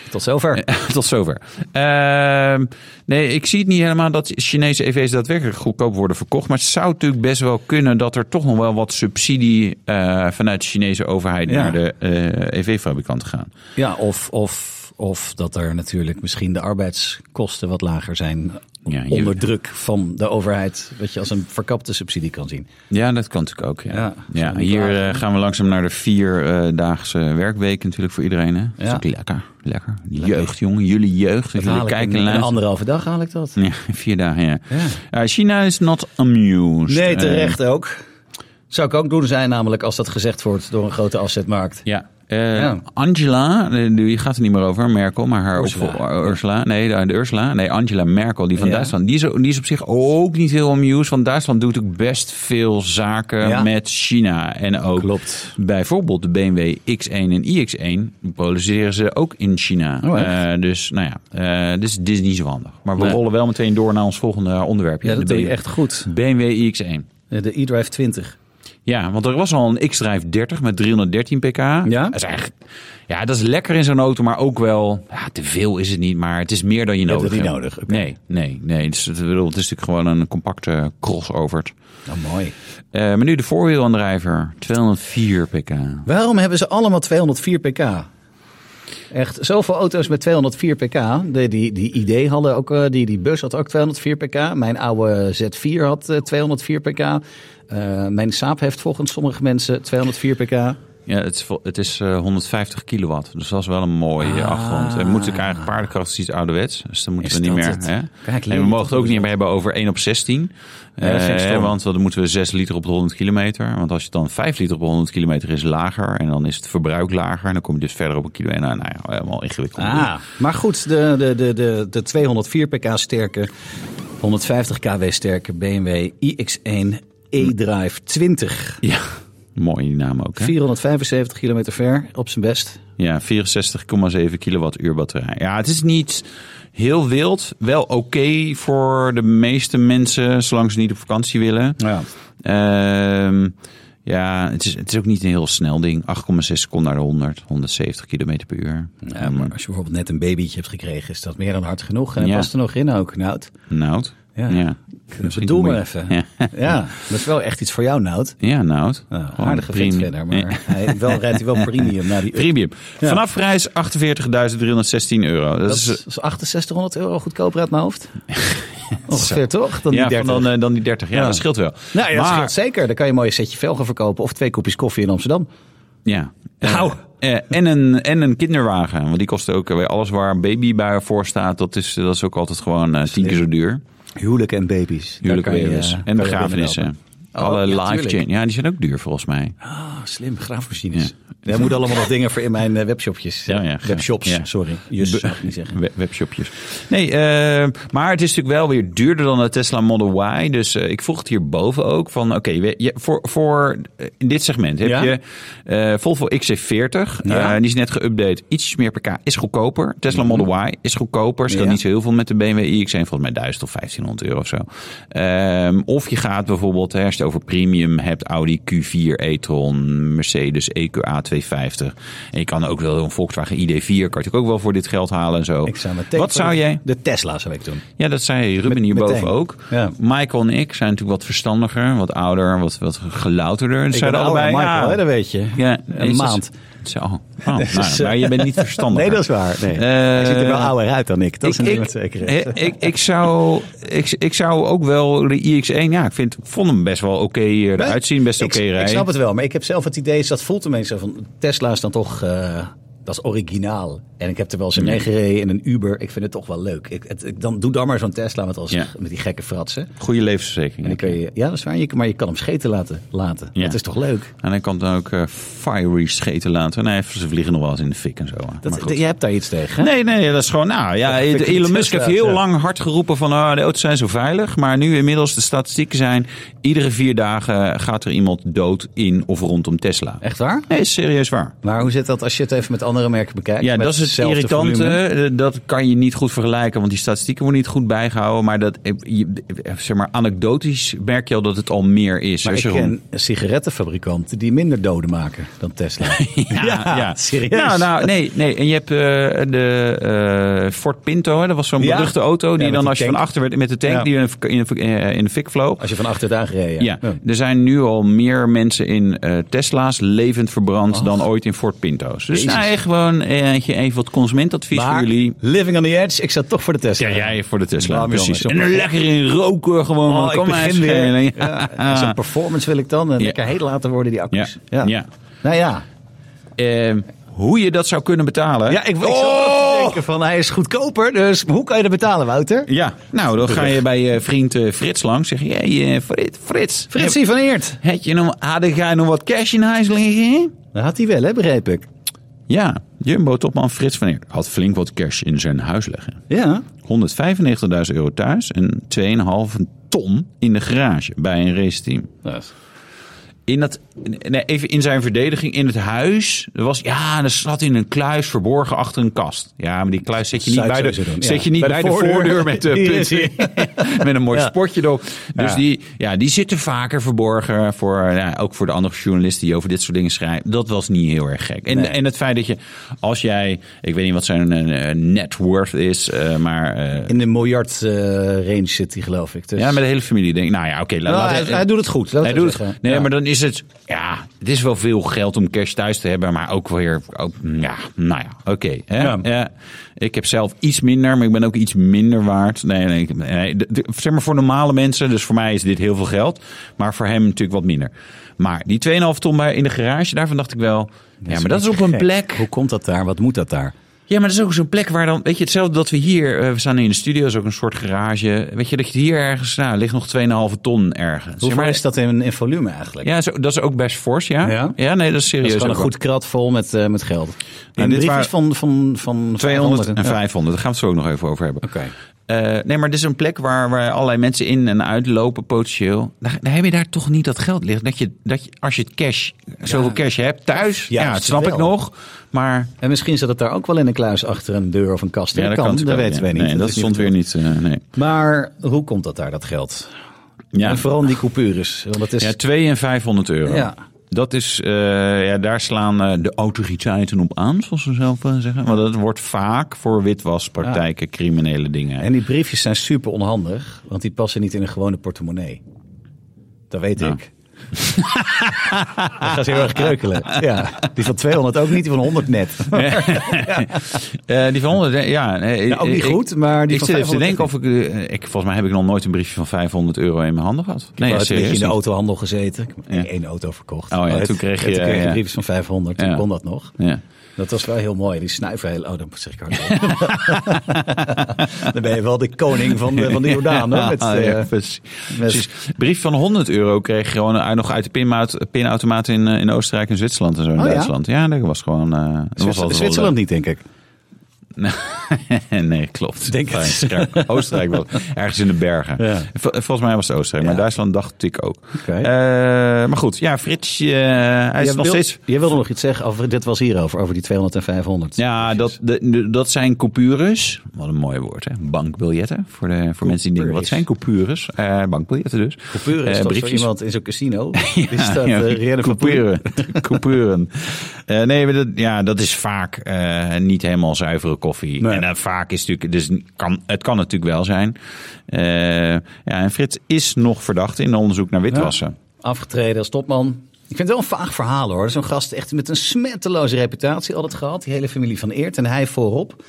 Speaker 1: Tot zover.
Speaker 2: Tot zover. Ehm, nee, ik zie het niet helemaal dat Chinese EV's daadwerkelijk goedkoop worden verkocht. Maar het zou natuurlijk best wel kunnen dat er toch nog wel wat subsidie eh, vanuit de Chinese overheid
Speaker 1: Ja.
Speaker 2: naar de eh, EV-fabrikanten gaan.
Speaker 1: Ja, of, of, of dat er natuurlijk misschien de arbeidskosten wat lager zijn.
Speaker 2: Ja, je-
Speaker 1: onder druk van de overheid. Wat je als een verkapte subsidie kan zien.
Speaker 2: Ja, dat kan natuurlijk ook. Ja.
Speaker 1: Ja,
Speaker 2: Ja,
Speaker 1: zullen we niet
Speaker 2: hier
Speaker 1: klagen?
Speaker 2: eh, gaan we langzaam naar de vierdaagse werkweek natuurlijk voor iedereen. Hè? Dat is
Speaker 1: Ja.
Speaker 2: ook lekker. Lekker. Die Jeugd, jongen. Jullie jeugd. Dat jullie
Speaker 1: Haal ik
Speaker 2: kijken en
Speaker 1: een, een
Speaker 2: luisteren.
Speaker 1: anderhalve dag haal ik dat.
Speaker 2: Ja, vier dagen, ja. Eh, China is not amused.
Speaker 1: Nee,
Speaker 2: Eh,
Speaker 1: terecht ook. Zou ik ook doen zijn, namelijk als dat gezegd wordt door een grote afzetmarkt.
Speaker 2: Ja. eh,
Speaker 1: Ja.
Speaker 2: Angela, eh, die gaat er niet meer over, Merkel, maar haar
Speaker 1: Ursula.
Speaker 2: opvol- Ursula. Nee, de, de Ursula. Nee, Angela Merkel, die van
Speaker 1: Ja.
Speaker 2: Duitsland. Die is, die is op zich ook niet heel amused, want Duitsland doet ook best veel zaken
Speaker 1: Ja.
Speaker 2: met China. En ook
Speaker 1: Klopt.
Speaker 2: bijvoorbeeld de BMW X1 en iX1 produceren ze ook in China.
Speaker 1: Oh, echt?
Speaker 2: Eh, dus nou ja, eh, dus dit is niet zo handig. Maar we
Speaker 1: Nee.
Speaker 2: rollen wel meteen door naar ons volgende onderwerp.
Speaker 1: Ja, dat
Speaker 2: de
Speaker 1: doe je
Speaker 2: BMW
Speaker 1: echt goed.
Speaker 2: BMW iX1.
Speaker 1: Eh, De e-drive 20.
Speaker 2: Ja, want er was al een X-Drive 30 met 313 pk. Ja? Dat is eigenlijk... Ja, dat is lekker in zo'n auto, maar ook wel... Ja, te veel is het niet, maar het is meer dan je
Speaker 1: hebt
Speaker 2: nodig
Speaker 1: het niet
Speaker 2: hebt.
Speaker 1: nodig, oké.
Speaker 2: Nee, nee, nee. Het is, het, ik bedoel, het is natuurlijk gewoon een compacte crossover.
Speaker 1: Nou, mooi.
Speaker 2: Eh, maar nu de voorwielaandrijver, 204 pk.
Speaker 1: Waarom hebben ze allemaal 204 pk? Echt, zoveel auto's met 204 pk. De, die, die ID hadden ook, eh, die, die bus had ook 204 pk. Mijn oude Z4 had eh, 204 pk. Eh, mijn Saab heeft volgens sommige mensen 204 pk.
Speaker 2: Ja, het is, vol- het is eh, 150 kilowatt, dus dat is wel een mooie achtergrond. En moet ik eigenlijk paardenkracht is iets ouderwets, dus dan moeten
Speaker 1: Ah. Is
Speaker 2: we niet
Speaker 1: dat
Speaker 2: meer.
Speaker 1: het?
Speaker 2: Hè?
Speaker 1: Kijk,
Speaker 2: en
Speaker 1: leuk
Speaker 2: we
Speaker 1: dat
Speaker 2: mogen het
Speaker 1: we
Speaker 2: ook niet
Speaker 1: zo-
Speaker 2: meer hebben over 1 op 16.
Speaker 1: dat vind ik
Speaker 2: Eh,
Speaker 1: stom.
Speaker 2: want dan moeten we 6 liter op de 100 kilometer. Want als je dan 5 liter op de 100 kilometer is lager en dan is het verbruik lager. En dan kom je dus verder op een kilo. En nou, nou ja, helemaal ingewikkeld.
Speaker 1: Maar goed, de, de, de, de, de 204 pk sterke, 150 kW sterke BMW iX1 e-drive 20.
Speaker 2: Ja. Mooi die naam ook, hè?
Speaker 1: 475 kilometer ver, op zijn best.
Speaker 2: Ja, 64,7 kilowattuur batterij. Ja, het is niet heel wild. Wel oké voor de meeste mensen, zolang ze niet op vakantie willen.
Speaker 1: Ja.
Speaker 2: Ehm, ja, het is, het is ook niet een heel snel ding. 8,6 seconden naar de 100, 170 kilometer per uur.
Speaker 1: maar als je bijvoorbeeld net een babytje hebt gekregen, is dat meer dan hard genoeg. En
Speaker 2: Ja.
Speaker 1: dat past er nog in ook, Nout.
Speaker 2: Nout.
Speaker 1: Ja.
Speaker 2: Ja. Misschien
Speaker 1: Bedoel
Speaker 2: moet
Speaker 1: maar
Speaker 2: je-
Speaker 1: even.
Speaker 2: Ja,
Speaker 1: Ja, dat is wel echt iets voor jou, Nout.
Speaker 2: ja Nout.
Speaker 1: Nou,
Speaker 2: Gewoon
Speaker 1: aardige
Speaker 2: premium.
Speaker 1: vent verder, maar hij, wel, rijdt hij wel premium naar die...
Speaker 2: Premium.
Speaker 1: Ja.
Speaker 2: Vanaf prijs 48.316 euro. Dat,
Speaker 1: Dat
Speaker 2: is
Speaker 1: is, dat is 6800 euro goedkoper uit mijn hoofd. Ongeveer toch? Dan die
Speaker 2: ja, van
Speaker 1: 30.
Speaker 2: dan, eh, dan die 30. Ja,
Speaker 1: Ja.
Speaker 2: dat scheelt wel.
Speaker 1: nou ja, dat
Speaker 2: Maar-
Speaker 1: scheelt zeker. Dan kan je een mooi setje velgen verkopen of twee kopjes koffie in Amsterdam.
Speaker 2: Ja. Eh,
Speaker 1: Nou.
Speaker 2: eh, en, een, en een kinderwagen. Want die kost ook eh, weer alles waar een baby bij voor staat. Dat is, dat is ook altijd gewoon eh, tien keer zo duur.
Speaker 1: Huwelijken en baby's. Daar
Speaker 2: Huwelijken
Speaker 1: kan je,
Speaker 2: baby's.
Speaker 1: eh, kan
Speaker 2: en
Speaker 1: je
Speaker 2: begrafenissen.
Speaker 1: Oh,
Speaker 2: Alle
Speaker 1: ja,
Speaker 2: live
Speaker 1: tuurlijk.
Speaker 2: chain. Ja, die zijn ook duur volgens mij.
Speaker 1: Ah, slim, graafmachines. Daar moeten allemaal nog dingen voor in mijn eh, webshopjes.
Speaker 2: Ja, ja,
Speaker 1: Webshops,
Speaker 2: ja.
Speaker 1: sorry. Just, zou ik niet zeggen.
Speaker 2: We- webshopjes. Nee, eh, maar het is natuurlijk wel weer duurder dan de Tesla Model Y. Dus eh, ik vroeg het hierboven ook van, oké, we- je- voor, voor eh, in dit segment heb
Speaker 1: Ja.
Speaker 2: je eh, Volvo XC40.
Speaker 1: Ja. Mhm.
Speaker 2: eh, die is net geüpdate. Iets meer per k is goedkoper. Tesla Model Y is goedkoper. Scheelt
Speaker 1: Ja.
Speaker 2: niet zo heel veel met de BMW iX1. Volgens mij 1000 of 1500 euro of zo. Ehm, of je gaat bijvoorbeeld, hè, als je het over premium hebt, Audi Q4 e-tron, Mercedes E EQA 250. En je kan ook wel een Volkswagen ID4, kan je natuurlijk ook wel voor dit geld halen en zo.
Speaker 1: Ik zou meteen
Speaker 2: Wat
Speaker 1: voor
Speaker 2: zou
Speaker 1: de-
Speaker 2: jij?
Speaker 1: De Tesla zou ik doen.
Speaker 2: Ja, dat zei Ruben
Speaker 1: Met-
Speaker 2: hierboven
Speaker 1: meteen.
Speaker 2: ook.
Speaker 1: Ja.
Speaker 2: Michael en ik zijn natuurlijk wat verstandiger, wat ouder, wat, wat gelouterder. Ik
Speaker 1: ben
Speaker 2: zeiden
Speaker 1: ouder,
Speaker 2: allebei,
Speaker 1: Michael,
Speaker 2: ja,
Speaker 1: hè, dat weet je.
Speaker 2: Ja,
Speaker 1: Een
Speaker 2: is dat-
Speaker 1: maand.
Speaker 2: Zo. Oh, nou, maar je bent niet Eh, verstandig.
Speaker 1: Nee, dat is waar. Nee. Hij ziet er wel ouder uit dan ik. Dat is een ding met zekerheid.
Speaker 2: ik, ik, ik, zou, ik, ik zou ook wel de iX1, ja, ik vind, vond hem best wel oké eh, eruit zien, best oké
Speaker 1: ik,
Speaker 2: rijden.
Speaker 1: Ik snap het wel, maar ik heb zelf het idee, dat voelt tenminste zo van Tesla is dan toch. eh, dat is originaal. En ik heb er wel eens in meegereden in een Uber. Ik vind het toch wel leuk. Ik, het, ik- dan, doe dan maar zo'n Tesla met, als,
Speaker 2: Ja.
Speaker 1: met die gekke fratsen.
Speaker 2: Goede levensverzekering.
Speaker 1: En dan kun je, ja, dat is waar. Je, maar je kan hem scheten laten. laten.
Speaker 2: Ja.
Speaker 1: Dat is toch leuk?
Speaker 2: En dan kan het dan ook eh, fiery scheten laten. Nee, ze vliegen nog wel eens in de fik en zo.
Speaker 1: Dat,
Speaker 2: Maar goed.
Speaker 1: je hebt daar iets tegen. hè?
Speaker 2: Nee, nee, dat is gewoon. Nou ja,
Speaker 1: vind ik
Speaker 2: Elon
Speaker 1: niet
Speaker 2: Musk
Speaker 1: zo
Speaker 2: heeft
Speaker 1: slecht,
Speaker 2: heel
Speaker 1: ja.
Speaker 2: lang hard geroepen van ah, de auto's zijn zo veilig. Maar nu inmiddels de statistieken zijn: iedere vier dagen gaat er iemand dood in of rondom Tesla.
Speaker 1: Echt waar?
Speaker 2: Nee, is serieus waar.
Speaker 1: Maar hoe zit dat als je het even met andere merken bekijkt?
Speaker 2: Ja,
Speaker 1: Met
Speaker 2: dat is het
Speaker 1: hetzelfde
Speaker 2: irritante.
Speaker 1: volume?
Speaker 2: Eh, Dat kan je niet goed vergelijken, want die statistieken worden niet goed bijgehouden. Maar dat, eh, je- eh, zeg maar, anekdotisch merk je al dat het al meer is. eh,
Speaker 1: Maar
Speaker 2: Als
Speaker 1: ik
Speaker 2: je gewoon-
Speaker 1: ken sigarettenfabrikanten die minder doden maken dan Tesla.
Speaker 2: Ja, ja,
Speaker 1: serieus.
Speaker 2: Nou, nou, nee, nee. En je hebt eh, de eh, Ford Pinto, hè? dat was zo'n
Speaker 1: Ja.
Speaker 2: beruchte auto. Die
Speaker 1: Ja, met
Speaker 2: dan
Speaker 1: die
Speaker 2: als je
Speaker 1: tank.
Speaker 2: van achter werd met de tank,
Speaker 1: Ja.
Speaker 2: die in, de- in, de- in de fik vloog.
Speaker 1: Als je van achter het aangereden. Hm.
Speaker 2: Ja. er zijn nu al meer mensen in eh, Tesla's levend verbrand dan ooit in Ford Pinto's. Dus
Speaker 1: Jezus.
Speaker 2: nou, eh, gewoon eh, je even wat consumentadvies
Speaker 1: Maar
Speaker 2: voor jullie.
Speaker 1: living on the edge, ik zat toch voor de Tesla.
Speaker 2: Ja, jij voor de Tesla,
Speaker 1: Waarom,
Speaker 2: precies.
Speaker 1: jongens?
Speaker 2: En er lekker in roken gewoon.
Speaker 1: Oh,
Speaker 2: want
Speaker 1: ik
Speaker 2: kom maar
Speaker 1: begin
Speaker 2: eens
Speaker 1: weer.
Speaker 2: schelen.
Speaker 1: Ja. Zo'n performance wil ik dan. En
Speaker 2: Ja.
Speaker 1: lekker heet laten worden die accu's.
Speaker 2: Ja. Ja.
Speaker 1: Nou ja.
Speaker 2: Eh, hoe je dat zou kunnen betalen.
Speaker 1: Ja, ik, ik
Speaker 2: Oh!
Speaker 1: zat ook te denken van hij is goedkoper. Dus hoe kan je dat betalen, Wouter?
Speaker 2: Ja, nou, dan ga je bij je vriend eh, Frits langs. Zeg je, hey, eh, Frits, Frits.
Speaker 1: Fritsie van Eert.
Speaker 2: Heb, heb je nog, had jij nog wat cash in huis liggen?
Speaker 1: Dat had hij wel, hè, begreep ik.
Speaker 2: Ja, Jumbo-topman Frits van Eert had flink wat cash in zijn huis liggen.
Speaker 1: Ja.
Speaker 2: 195.000 euro thuis en 2,5 ton in de garage bij een raceteam. In, dat, nee, even in zijn verdediging, in het huis. Er was, ja, er zat in een kluis verborgen achter een kast. Ja, maar die kluis zet je niet
Speaker 1: Zou ik
Speaker 2: bij de,
Speaker 1: sowieso doen,
Speaker 2: zet
Speaker 1: ja.
Speaker 2: je niet bij de, voordeur, met, eh,
Speaker 1: Die is
Speaker 2: punten. met een mooi
Speaker 1: Ja.
Speaker 2: spotje erop. Dus
Speaker 1: Ja.
Speaker 2: Die, ja, die zitten vaker verborgen. Voor, eh, ja, ook voor de andere journalisten die over dit soort dingen schrijven. Dat was niet heel erg gek. En,
Speaker 1: Nee.
Speaker 2: en het feit dat je, als jij, ik weet niet wat zijn eh, net worth is, eh, maar. eh,
Speaker 1: In de miljard eh, range zit hij, geloof ik. Dus...
Speaker 2: ja, met de hele familie denk ik, nou ja, oké. laat-
Speaker 1: Nou,
Speaker 2: laat-
Speaker 1: hij, hij doet het goed. laat
Speaker 2: hij
Speaker 1: ik
Speaker 2: doet
Speaker 1: zeggen.
Speaker 2: Nee,
Speaker 1: Ja.
Speaker 2: maar dan is het. Ja, het is wel veel geld om cash thuis te hebben, maar ook weer. Ook, ja, nou ja, oké. hè.
Speaker 1: Ja.
Speaker 2: Ja, ik heb zelf iets minder, maar ik ben ook iets minder waard. Nee, nee, ik- nee, de- de- zeg maar voor normale mensen, dus voor mij is dit heel veel geld, maar voor hem natuurlijk wat minder. Maar die 2,5 ton bij- in de garage, daarvan dacht ik wel. Ja, maar dat is op een
Speaker 1: Gek.
Speaker 2: plek.
Speaker 1: Hoe komt dat daar? Wat moet dat daar?
Speaker 2: Ja, maar dat is ook zo'n plek waar dan, weet je, hetzelfde dat we hier, eh, we staan nu in de studio, is ook een soort garage. Weet je, dat je hier ergens, nou, ligt nog 2,5 ton ergens.
Speaker 1: Hoeveel
Speaker 2: maar,
Speaker 1: is dat in, in volume eigenlijk?
Speaker 2: Ja, zo, dat is ook best fors, ja.
Speaker 1: Ja?
Speaker 2: Ja, nee, dat is
Speaker 1: dat
Speaker 2: serieus.
Speaker 1: is gewoon een
Speaker 2: ook wel.
Speaker 1: goed krat vol met, eh, met geld. En
Speaker 2: dit
Speaker 1: dit
Speaker 2: waren
Speaker 1: van, van, van
Speaker 2: 200 en
Speaker 1: Ja.
Speaker 2: 500, daar gaan we het zo ook nog even over hebben.
Speaker 1: Oké.
Speaker 2: Eh, Eh, nee, maar dit is een plek waar, waar allerlei mensen in en uit lopen, potentieel. Daar, daar heb je daar toch niet dat geld liggen. Dat je, dat je, als je het cash, zoveel cash hebt thuis, ja,
Speaker 1: Juist
Speaker 2: dat snap ik
Speaker 1: wel.
Speaker 2: nog. Maar
Speaker 1: En misschien zat het daar ook wel in een kluis achter een deur of een kast.
Speaker 2: ja,
Speaker 1: dat kan, dat weten wij niet.
Speaker 2: Nee, dat,
Speaker 1: is
Speaker 2: stond
Speaker 1: niet
Speaker 2: weer niet. eh, nee.
Speaker 1: goed. Maar hoe komt dat daar, dat geld?
Speaker 2: ja.
Speaker 1: En vooral in die coupures. Want dat is...
Speaker 2: ja, 2 en 500 euro.
Speaker 1: Ja.
Speaker 2: Dat is, eh, ja, daar slaan eh, de autoriteiten op aan, zoals ze zelf eh, zeggen. Maar dat wordt vaak voor witwaspraktijken, criminele dingen.
Speaker 1: En die briefjes zijn super onhandig, want die passen niet in een gewone portemonnee. Dat weet
Speaker 2: Ja.
Speaker 1: ik. dat gaat heel erg kreukelen. Ja, die van 200 ook niet, die van 100 net.
Speaker 2: Eh, die van 100, eh, ja. nee,
Speaker 1: Nou, ook niet
Speaker 2: ik-
Speaker 1: goed, maar die
Speaker 2: ik
Speaker 1: van
Speaker 2: zit even te
Speaker 1: 500
Speaker 2: denken of ik, eh, ik... Volgens mij heb ik nog nooit een briefje van 500 euro in mijn handen gehad.
Speaker 1: Nee, ik
Speaker 2: Nee,
Speaker 1: heb een beetje
Speaker 2: serieus
Speaker 1: in de
Speaker 2: niet.
Speaker 1: autohandel gezeten. Ik heb
Speaker 2: Ja.
Speaker 1: één auto verkocht.
Speaker 2: Oh ja,
Speaker 1: Maar
Speaker 2: toen
Speaker 1: het-
Speaker 2: kreeg
Speaker 1: het-
Speaker 2: je,
Speaker 1: toen kreeg
Speaker 2: ja.
Speaker 1: briefjes van 500. Toen
Speaker 2: Ja.
Speaker 1: kon dat nog.
Speaker 2: Ja.
Speaker 1: Dat was wel heel mooi. Die snuiver heel... Oh, dat zeg ik hardop. Dan ben je wel de koning van de, van de Jordaan. hoor, met,
Speaker 2: Ah, ja,
Speaker 1: eh,
Speaker 2: precies.
Speaker 1: met-
Speaker 2: Precies. Brief van 100 euro kreeg je gewoon uit- nog uit de pinmaat- pinautomaat in, eh, in Oostenrijk en Zwitserland en zo in
Speaker 1: Oh ja?
Speaker 2: Duitsland. Ja, dat was gewoon... eh, dat was altijd wel
Speaker 1: Zwitserland niet, denk ik.
Speaker 2: nee, klopt.
Speaker 1: Denk het.
Speaker 2: Oostenrijk- Oostenrijk wel. Ergens in de bergen.
Speaker 1: Ja.
Speaker 2: Vol- volgens mij was het Oostenrijk, maar
Speaker 1: Ja.
Speaker 2: Duitsland dacht ik ook.
Speaker 1: Oké.
Speaker 2: Eh, maar goed, ja, Frits, eh, hij is
Speaker 1: Jij
Speaker 2: nog
Speaker 1: wil-
Speaker 2: steeds...
Speaker 1: Jij wilde nog iets zeggen over... Dit was hierover, over die 200 en 500.
Speaker 2: Ja, dat, de, de- dat zijn coupures. Wat een mooi woord, hè? Bankbiljetten. Voor, de, voor mensen die denken, wat zijn coupures? Eh, bankbiljetten dus.
Speaker 1: Coupure is
Speaker 2: Eh,
Speaker 1: toch zo iemand in zo'n casino? Die staat
Speaker 2: ja,
Speaker 1: eh, Rienne van Poel.
Speaker 2: coupuren. Coupuren. Eh, nee, maar dat, ja, dat is vaak eh, niet helemaal zuivere koffie.
Speaker 1: Nee.
Speaker 2: En eh, vaak is natuurlijk, dus kan, het kan natuurlijk wel zijn. Eh, ja, en Frits is nog verdacht in onderzoek naar witwassen.
Speaker 1: Afgetreden als topman. Ik vind het wel een vaag verhaal hoor. Zo'n gast echt met een smetteloze reputatie altijd gehad. Die hele familie van Eert en hij voorop.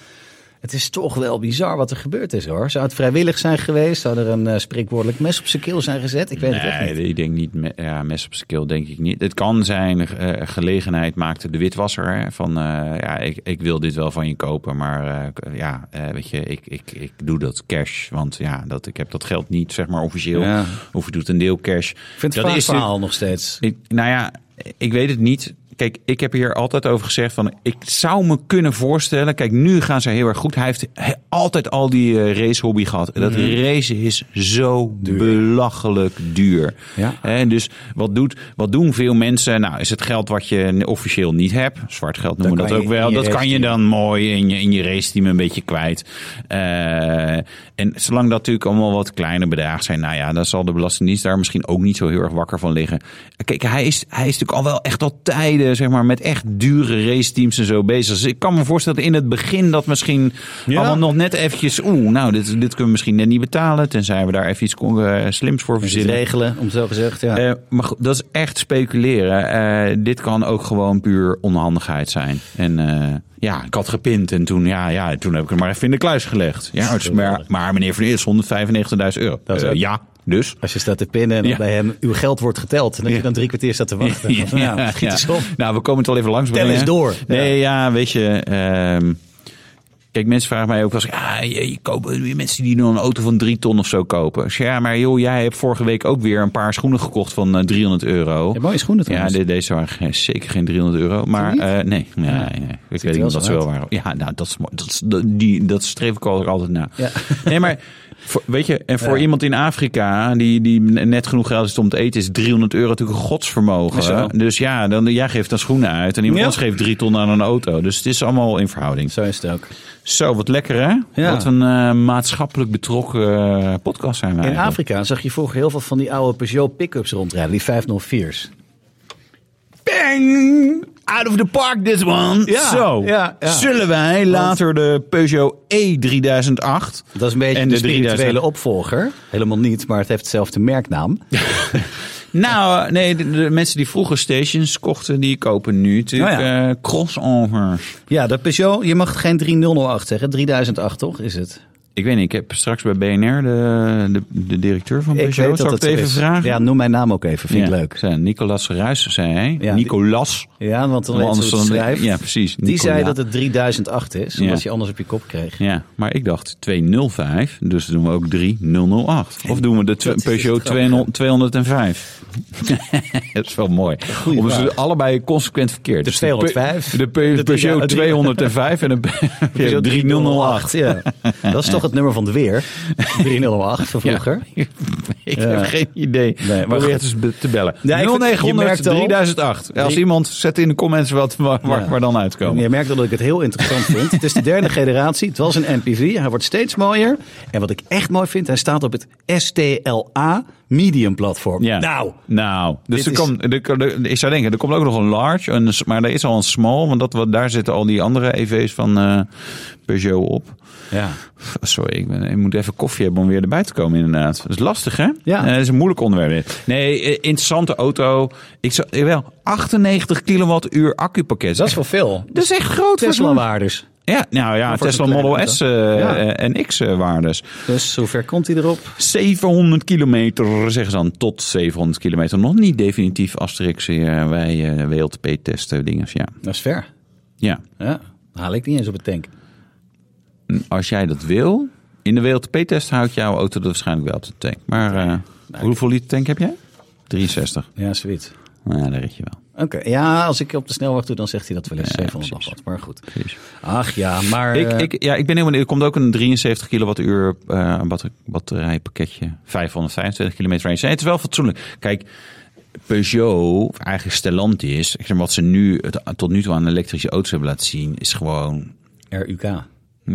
Speaker 1: Het is toch wel bizar wat er gebeurd is hoor. Zou het vrijwillig zijn geweest? Zou er een eh, spreekwoordelijk mes op zijn keel zijn gezet? Ik weet het echt
Speaker 2: Nee,
Speaker 1: niet.
Speaker 2: ik denk niet. me- Ja, mes op skill denk ik niet. Het kan zijn, eh, gelegenheid maakte de witwasser. Hè, van eh, ja, ik, ik wil dit wel van je kopen, maar eh, ja, eh, weet je, ik, ik, ik doe dat cash. Want ja, dat, ik heb dat geld niet, zeg maar officieel.
Speaker 1: Ja.
Speaker 2: Of je doet een deel cash.
Speaker 1: Ik vind het
Speaker 2: dat
Speaker 1: een vaag
Speaker 2: is natuurlijk-
Speaker 1: verhaal nog steeds.
Speaker 2: ik, nou ja, ik weet het niet. Kijk, ik heb hier altijd over gezegd van, ik zou me kunnen voorstellen. Kijk, nu gaan ze heel erg goed. Hij heeft he- altijd al die eh, racehobby gehad. En
Speaker 1: Mhm.
Speaker 2: dat racen is zo belachelijk duur.
Speaker 1: Ja.
Speaker 2: En dus wat, doet, wat doen veel mensen? Nou, is het geld wat je officieel niet hebt. Zwart geld noemen we
Speaker 1: Dan
Speaker 2: dat
Speaker 1: kan
Speaker 2: ook
Speaker 1: je in
Speaker 2: wel.
Speaker 1: je
Speaker 2: Dat kan je
Speaker 1: raceteam.
Speaker 2: dan mooi in je, in je raceteam een beetje kwijt. Eh, en zolang dat natuurlijk allemaal wat kleine bedragen zijn, nou ja, dan zal de Belastingdienst daar misschien ook niet zo heel erg wakker van liggen. Kijk, hij is, hij is natuurlijk al wel echt al tijden, zeg maar, met echt dure raceteams en zo bezig. Dus ik kan me voorstellen dat in het begin dat misschien allemaal nog net eventjes, oeh, nou, dit, dit kunnen we misschien net niet betalen, tenzij we daar even iets kon- eh, slims voor
Speaker 1: Ze
Speaker 2: verzinnen.
Speaker 1: regelen, om het zo gezegd. Ja.
Speaker 2: Eh, maar goed, dat is echt speculeren. Eh, dit kan ook gewoon puur onhandigheid zijn. En eh, ja, ik had gepint en toen, ja, ja, toen heb ik hem maar even in de kluis gelegd. Ja, het is maar, maar meneer Van Eers, 195.000 euro.
Speaker 1: Dat is
Speaker 2: Eh,
Speaker 1: ook-
Speaker 2: ja, dus.
Speaker 1: Als je staat te pinnen en dan
Speaker 2: Ja.
Speaker 1: bij hem uw geld wordt geteld. En dat je dan drie kwartier staat te wachten. Ja,
Speaker 2: Ja,
Speaker 1: schiet eens
Speaker 2: ja.
Speaker 1: op.
Speaker 2: Nou, we komen het al even langs.
Speaker 1: Tel
Speaker 2: brengen.
Speaker 1: eens door.
Speaker 2: Nee, ja, weet je. ehm, kijk, mensen vragen mij ook wel eens. Ah, je, je koopt- je mensen die dan een auto van drie ton of zo kopen. Ik zeg, Ja, maar joh, jij hebt vorige week ook weer een paar schoenen gekocht van eh, 300 euro.
Speaker 1: Ja, mooie schoenen
Speaker 2: Ja,
Speaker 1: trouwens.
Speaker 2: de- deze waren geen- zeker geen 300 euro. Maar eh, nee, nee, nee. ik weet
Speaker 1: wel zo
Speaker 2: niet wat ze wel
Speaker 1: uit.
Speaker 2: waren. Ja, nou, dat, is, mooi. dat, is- dat- die, dat streef ik ook altijd na.
Speaker 1: Ja.
Speaker 2: Nee, maar voor, weet je, en voor
Speaker 1: Ja.
Speaker 2: iemand in Afrika die, die net genoeg geld heeft om te eten, is 300 euro natuurlijk een godsvermogen.
Speaker 1: Is zo.
Speaker 2: Dus ja, dan, jij geeft dan schoenen uit en iemand
Speaker 1: Ja.
Speaker 2: anders geeft drie ton aan een auto. Dus het is allemaal in verhouding.
Speaker 1: Zo is het ook.
Speaker 2: Zo, wat lekker hè?
Speaker 1: Ja.
Speaker 2: Wat een eh, maatschappelijk betrokken eh, podcast zijn wij.
Speaker 1: In Afrika zag je vroeger heel veel van die oude Peugeot pick-ups rondrijden. Die 504's.
Speaker 2: Bang! Out of the park this one.
Speaker 1: Ja,
Speaker 2: Zo,
Speaker 1: ja, ja.
Speaker 2: zullen wij later de Peugeot E E3008...
Speaker 1: Dat is een beetje
Speaker 2: En
Speaker 1: de,
Speaker 2: de 3000.
Speaker 1: spirituele opvolger. Helemaal niet, maar het heeft hetzelfde merknaam.
Speaker 2: Nou, eh, nee, de, de mensen die vroeger stations kochten, die kopen nu natuurlijk
Speaker 1: Nou ja.
Speaker 2: eh, crossovers.
Speaker 1: Ja, dat Peugeot, je mag geen 3008 zeggen. 3008 toch, is het?
Speaker 2: Ik weet niet, ik heb straks bij BNR de, de, de directeur van Peugeot. Zal ik
Speaker 1: zo
Speaker 2: het even
Speaker 1: is.
Speaker 2: vragen?
Speaker 1: Ja, noem mijn naam ook even, vind ik
Speaker 2: Ja,
Speaker 1: leuk.
Speaker 2: zei Nicolas Ruijs zei hij.
Speaker 1: Ja,
Speaker 2: Nicolas.
Speaker 1: Ja, want dan
Speaker 2: Maar
Speaker 1: weet je hoe het
Speaker 2: dan-
Speaker 1: schrijft.
Speaker 2: Ja, precies.
Speaker 1: Die zei
Speaker 2: Nicolas.
Speaker 1: dat het 3008 is,
Speaker 2: Ja.
Speaker 1: omdat je anders op je kop kreeg.
Speaker 2: Ja, maar ik dacht 205, dus doen we ook 3008. Of doen we de tw-
Speaker 1: dat is
Speaker 2: Peugeot
Speaker 1: het grappige.
Speaker 2: 200 205. dat is wel mooi. Om ze
Speaker 1: vraag.
Speaker 2: allebei consequent verkeerd. Dus
Speaker 1: 205,
Speaker 2: Pe- De, Pe-
Speaker 1: de drie-
Speaker 2: Peugeot
Speaker 1: ja, drie-
Speaker 2: 205 en een Pe- Peugeot 3008.
Speaker 1: ja. Dat is toch nog het nummer van het weer. 308 van vroeger.
Speaker 2: Ik heb geen idee.
Speaker 1: maar
Speaker 2: maar Probeer
Speaker 1: goed.
Speaker 2: het eens be- te bellen.
Speaker 1: Ja, ik vind- je
Speaker 2: 0900
Speaker 1: merkt al-
Speaker 2: 3008. Ja, als
Speaker 1: Die-
Speaker 2: iemand zet in de comments wat waar, waar
Speaker 1: Ja.
Speaker 2: we dan uitkomen.
Speaker 1: Je merkt al dat ik het heel interessant vind. Het is de derde generatie. Het was een MPV. Hij wordt steeds mooier. En wat ik echt mooi vind, hij staat op het STLA medium platform.
Speaker 2: Ja.
Speaker 1: Nou,
Speaker 2: Nou, dus
Speaker 1: Dit
Speaker 2: er
Speaker 1: is-
Speaker 2: komt, er, er- ik zou denken, er komt ook nog een large, een, s- maar er is al een small, want dat, wat- daar zitten al die andere EV's van eh, Peugeot op.
Speaker 1: ja.
Speaker 2: Pff, Sorry, ik, ben, ik moet even koffie hebben om weer erbij te komen inderdaad. Dat is lastig, hè?
Speaker 1: Ja.
Speaker 2: Eh, dat is een moeilijk onderwerp. dit. Nee, eh, interessante auto. Ik zou, wel 98 kilowattuur accupakket.
Speaker 1: dat is wel veel.
Speaker 2: Dat is echt groot voor zo'n-
Speaker 1: Tesla-waardes.
Speaker 2: Ja, nou ja,
Speaker 1: voor
Speaker 2: Tesla
Speaker 1: zo'n kleine
Speaker 2: Model
Speaker 1: auto.
Speaker 2: S eh,
Speaker 1: Ja.
Speaker 2: eh, en X eh, waardes.
Speaker 1: Dus zover komt hij erop?
Speaker 2: 700 kilometer, zeggen ze dan, tot 700 kilometer. Nog niet definitief Asterix eh, wij eh WLTP-testen dinges, ja.
Speaker 1: Dat is ver.
Speaker 2: ja.
Speaker 1: Ja. Haal ik niet eens op het tank.
Speaker 2: En Als jij dat wil, in de WLTP-test houdt jouw auto dat waarschijnlijk wel op de tank. Maar
Speaker 1: Nou,
Speaker 2: eh, hoeveel liter tank heb jij? 63.
Speaker 1: Ja, zoiets.
Speaker 2: Nou, daar red je wel.
Speaker 1: Oké, ja, als ik op de snelweg doe, dan zegt hij dat wel eens
Speaker 2: Ja,
Speaker 1: 700 nog
Speaker 2: precies.
Speaker 1: wat. Maar goed.
Speaker 2: Precies.
Speaker 1: Ach ja, maar... eh,
Speaker 2: Ik, ik, ja, ik ben helemaal Er komt ook een 73 kilowattuur eh batter- batterijpakketje. 525 kilometer range. Nee, het is wel fatsoenlijk. Kijk, Peugeot, of eigenlijk Stellantis, ik zeg, maar, wat ze nu het- tot nu toe aan elektrische auto's hebben laten zien, is gewoon...
Speaker 1: RUK.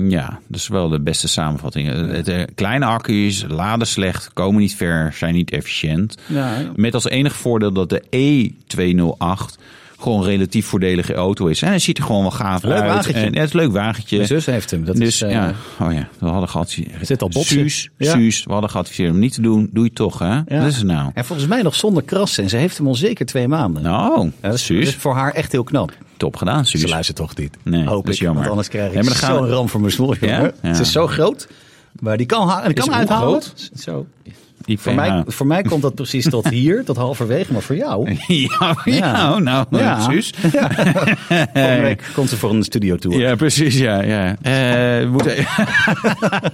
Speaker 2: Ja, dat is wel de beste samenvatting. Eh, het, eh, kleine accu's, laden slecht, komen niet ver, zijn niet efficiënt.
Speaker 1: Ja, ja.
Speaker 2: Met als enig voordeel dat de E E208 gewoon een relatief voordelige auto is. En hij ziet er gewoon wel gaaf
Speaker 1: Leuk
Speaker 2: uit.
Speaker 1: wagentje.
Speaker 2: En, ja, het is een leuk wagentje.
Speaker 1: Mijn zus heeft hem. Dat
Speaker 2: dus
Speaker 1: is, eh,
Speaker 2: ja, oh ja, we hadden geadviseerd.
Speaker 1: zit al botsen.
Speaker 2: Suus,
Speaker 1: Ja.
Speaker 2: Suus, we hadden geadviseerd om niet te doen. Doe je toch, hè? Dat is het nou.
Speaker 1: En volgens mij nog zonder krassen. En ze heeft hem al zeker twee maanden.
Speaker 2: Nou,
Speaker 1: Ja, dat, is, dat
Speaker 2: Suus,
Speaker 1: is voor haar echt heel knap.
Speaker 2: top gedaan,
Speaker 1: Ze
Speaker 2: Suus.
Speaker 1: luistert toch niet.
Speaker 2: Nee,
Speaker 1: Hoop
Speaker 2: dat is
Speaker 1: ik,
Speaker 2: jammer.
Speaker 1: Want anders krijg ik
Speaker 2: Nee, maar dan gaan
Speaker 1: zo'n
Speaker 2: we-
Speaker 1: ram voor mijn snor.
Speaker 2: Ja?
Speaker 1: jongen.
Speaker 2: Ja.
Speaker 1: Het is zo groot. Maar die kan, ha- die kan
Speaker 2: hem
Speaker 1: uithalen.
Speaker 2: groot?
Speaker 1: Zo.
Speaker 2: Die
Speaker 1: Voor, mij, voor mij komt dat precies tot hier, tot halverwege. Maar voor jou,
Speaker 2: Ja,
Speaker 1: Ja.
Speaker 2: ja, nou,
Speaker 1: Ja.
Speaker 2: Suus.
Speaker 1: volgende week komt ze voor een studio tour.
Speaker 2: Ja, precies, ja. ja. Eh, we moeten...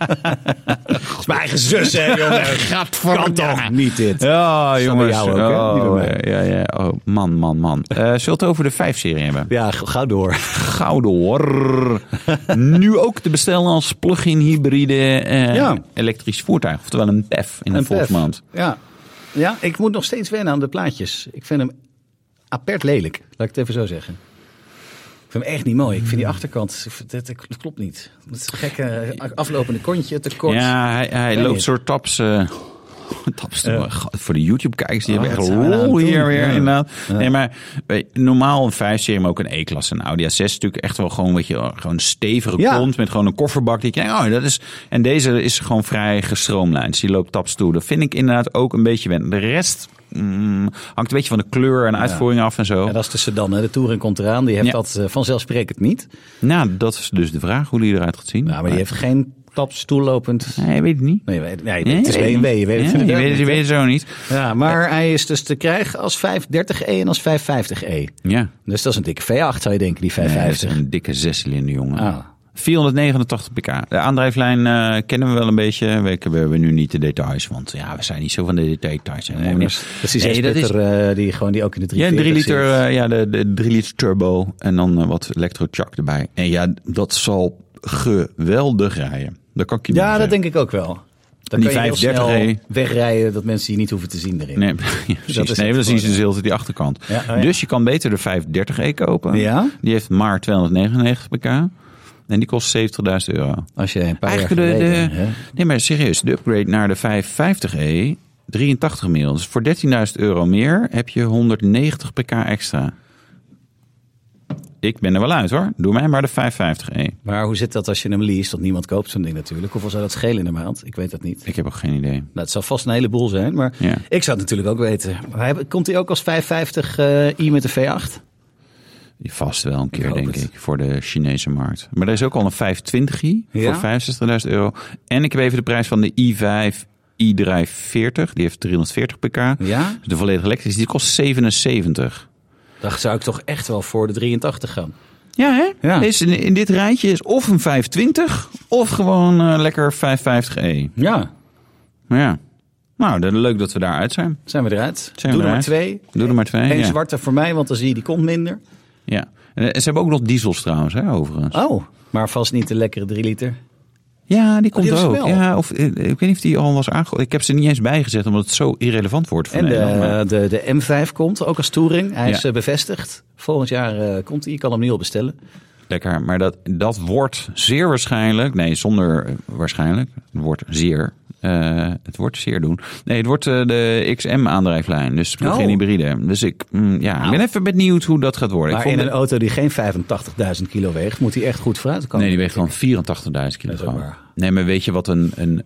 Speaker 1: is mijn eigen zus, hè, jongen. kan
Speaker 2: Gadverdamme.
Speaker 1: toch niet dit?
Speaker 2: Ja,
Speaker 1: bij
Speaker 2: jongens.
Speaker 1: jou ook, hè? Niet bij
Speaker 2: Oh,
Speaker 1: mij.
Speaker 2: eh, ja, ja. Oh, man, man, man. Eh zullen we het over de 5-serie hebben?
Speaker 1: Ja, g- ga door.
Speaker 2: Gauw door. nu ook te bestellen als plug-in hybride eh,
Speaker 1: Ja.
Speaker 2: elektrisch voertuig. Oftewel een PEF in een
Speaker 1: Een E pef.
Speaker 2: volksmand.
Speaker 1: Ja. ja, ik moet nog steeds wennen aan de plaatjes. Ik vind hem apert lelijk, laat ik het even zo zeggen. Ik vind hem echt niet mooi. Ik vind die
Speaker 2: Hmm.
Speaker 1: achterkant, ik vind- dat, dat klopt niet. Dat is een gekke eh, aflopende kontje, te kort.
Speaker 2: Ja, hij, hij
Speaker 1: Nee.
Speaker 2: loopt soort taps. eh, taps te- God, voor de YouTube-kijkers, die
Speaker 1: Eh. Oh,
Speaker 2: hebben echt
Speaker 1: wat zijn we nou
Speaker 2: lol
Speaker 1: aan het
Speaker 2: hier
Speaker 1: doen?
Speaker 2: weer
Speaker 1: Ja.
Speaker 2: inderdaad. Nee, maar weet je, normaal een 5-serie, maar ook een E-klasse. Een Audi A6 is natuurlijk echt wel gewoon, weet je, gewoon een stevige
Speaker 1: Ja.
Speaker 2: kont met gewoon een kofferbak. Die je, denkt, oh, dat is, en deze is gewoon vrij gestroomlijnd. Dus die loopt taps toe. Dat vind ik inderdaad ook een beetje wennen. De rest mm, hangt een beetje van de kleur en uitvoering af en zo.
Speaker 1: Ja, dat is de sedan, hè. de Touring komt eraan. Die heeft
Speaker 2: Ja.
Speaker 1: dat eh, vanzelfsprekend niet.
Speaker 2: Nou, dat is dus de vraag hoe die eruit gaat zien.
Speaker 1: Nou, maar die heeft geen klapstoel lopend.
Speaker 2: Nee, weet ik niet.
Speaker 1: Nee, weet- nee, het is BMW, je weet het
Speaker 2: Ja, je
Speaker 1: inderdaad
Speaker 2: weet het- je
Speaker 1: niet, hè.
Speaker 2: weet het zo niet.
Speaker 1: Ja, maar hij is dus te krijgen als 530e en als 550e.
Speaker 2: Ja.
Speaker 1: Dus dat is een dikke V8, zou je denken, die
Speaker 2: Nee, dat
Speaker 1: 550.
Speaker 2: is Eh, een dikke zescilinder, jongen.
Speaker 1: Ah.
Speaker 2: 489 pk. De aandrijflijn eh, kennen we wel een beetje. We, we hebben nu niet de details, want ja, we zijn niet zo van de details. hè.
Speaker 1: Nee,
Speaker 2: Nee,
Speaker 1: maar dat is eh, die
Speaker 2: nee, dat is-
Speaker 1: 6 die gewoon die ook in de 3
Speaker 2: ja, 3 liter, eh, ja, de, de 3 liter turbo en dan eh, wat elektrochuck erbij. En ja, dat zal geweldig rijden. Dat kan ik je
Speaker 1: Ja, dat denk ik ook wel. Dan
Speaker 2: Die
Speaker 1: kan je heel
Speaker 2: 530
Speaker 1: snel
Speaker 2: E.
Speaker 1: wegrijden dat mensen je niet hoeven te zien erin.
Speaker 2: Nee, ja, precies.
Speaker 1: Dat is
Speaker 2: nee,
Speaker 1: het
Speaker 2: dan zien ze
Speaker 1: voordeel.
Speaker 2: dus heel die achterkant.
Speaker 1: Ja, oh ja.
Speaker 2: Dus je kan beter de 530e kopen.
Speaker 1: Ja.
Speaker 2: Die heeft maar 299 pk. En die kost 70.000 euro.
Speaker 1: Als je een paar
Speaker 2: Eigenlijk
Speaker 1: jaar
Speaker 2: de, de-
Speaker 1: geleden, hè?
Speaker 2: nee, maar serieus, de upgrade naar de 550e, 83 mil. Dus voor 13.000 euro meer heb je 190 pk extra. Ik ben er wel uit hoor. Doe mij maar de E. 550e.
Speaker 1: Maar hoe zit dat als je hem leest? Want niemand koopt zo'n ding natuurlijk. Hoeveel zou dat schelen in de maand? Ik weet dat niet.
Speaker 2: Ik heb ook geen idee.
Speaker 1: Nou, het zal vast een heleboel zijn, maar
Speaker 2: Ja.
Speaker 1: ik zou het natuurlijk ook weten. Maar hij- Komt hij ook als 550 eh, i met de V8?
Speaker 2: Je Vast wel een keer,
Speaker 1: hoop
Speaker 2: denk
Speaker 1: het.
Speaker 2: ik, voor de Chinese markt. Maar er is ook al een 520i
Speaker 1: Ja?
Speaker 2: voor 65.000 euro. En ik heb even de prijs van de i5 i340. Die heeft 340 pk.
Speaker 1: Ja?
Speaker 2: Dus de volledige elektrische, die kost 77.
Speaker 1: Dan zou ik toch echt wel voor de 83 gaan.
Speaker 2: Ja, hè?
Speaker 1: Ja.
Speaker 2: Is in, in dit rijtje is of een 520 of gewoon eh, lekker 550e.
Speaker 1: Ja,
Speaker 2: Maar ja, nou, dan leuk dat we daaruit zijn.
Speaker 1: zijn we eruit.
Speaker 2: Zijn we
Speaker 1: Doe er maar
Speaker 2: eruit.
Speaker 1: twee.
Speaker 2: Doe er maar twee.
Speaker 1: Eén
Speaker 2: ja.
Speaker 1: zwarte voor mij, want dan zie je die komt minder.
Speaker 2: Ja. En eh, ze hebben ook nog diesels trouwens, hè, overigens.
Speaker 1: Oh, maar vast niet de lekkere 3 liter.
Speaker 2: Ja, die komt
Speaker 1: die
Speaker 2: er
Speaker 1: hebben
Speaker 2: ook.
Speaker 1: ze wel.
Speaker 2: Ja, of, eh, ik weet niet of die al was aangekondigd. Ik heb ze niet eens bijgezet, omdat het zo irrelevant wordt voor
Speaker 1: En de,
Speaker 2: Nederland. maar-
Speaker 1: de, de M5 komt, ook als touring. Hij
Speaker 2: Ja.
Speaker 1: is eh, bevestigd. Volgend jaar eh, komt hij. Je kan hem nu al bestellen.
Speaker 2: Lekker, maar dat, dat wordt zeer waarschijnlijk, nee, zonder eh, waarschijnlijk, het wordt zeer, eh, het wordt zeer doen. Nee, het wordt eh, de XM-aandrijflijn, dus plug-in
Speaker 1: Oh. Nou.
Speaker 2: hybride. Dus ik, mm, ja, ik ben even benieuwd hoe dat gaat worden.
Speaker 1: Maar
Speaker 2: ik
Speaker 1: in een
Speaker 2: het-
Speaker 1: auto die geen 85.000 kilo weegt, moet hij echt goed vooruit komen.
Speaker 2: nee, die weegt gewoon 84.000
Speaker 1: Dat is
Speaker 2: kilogram.
Speaker 1: ook waar.
Speaker 2: Nee, maar weet je wat een... een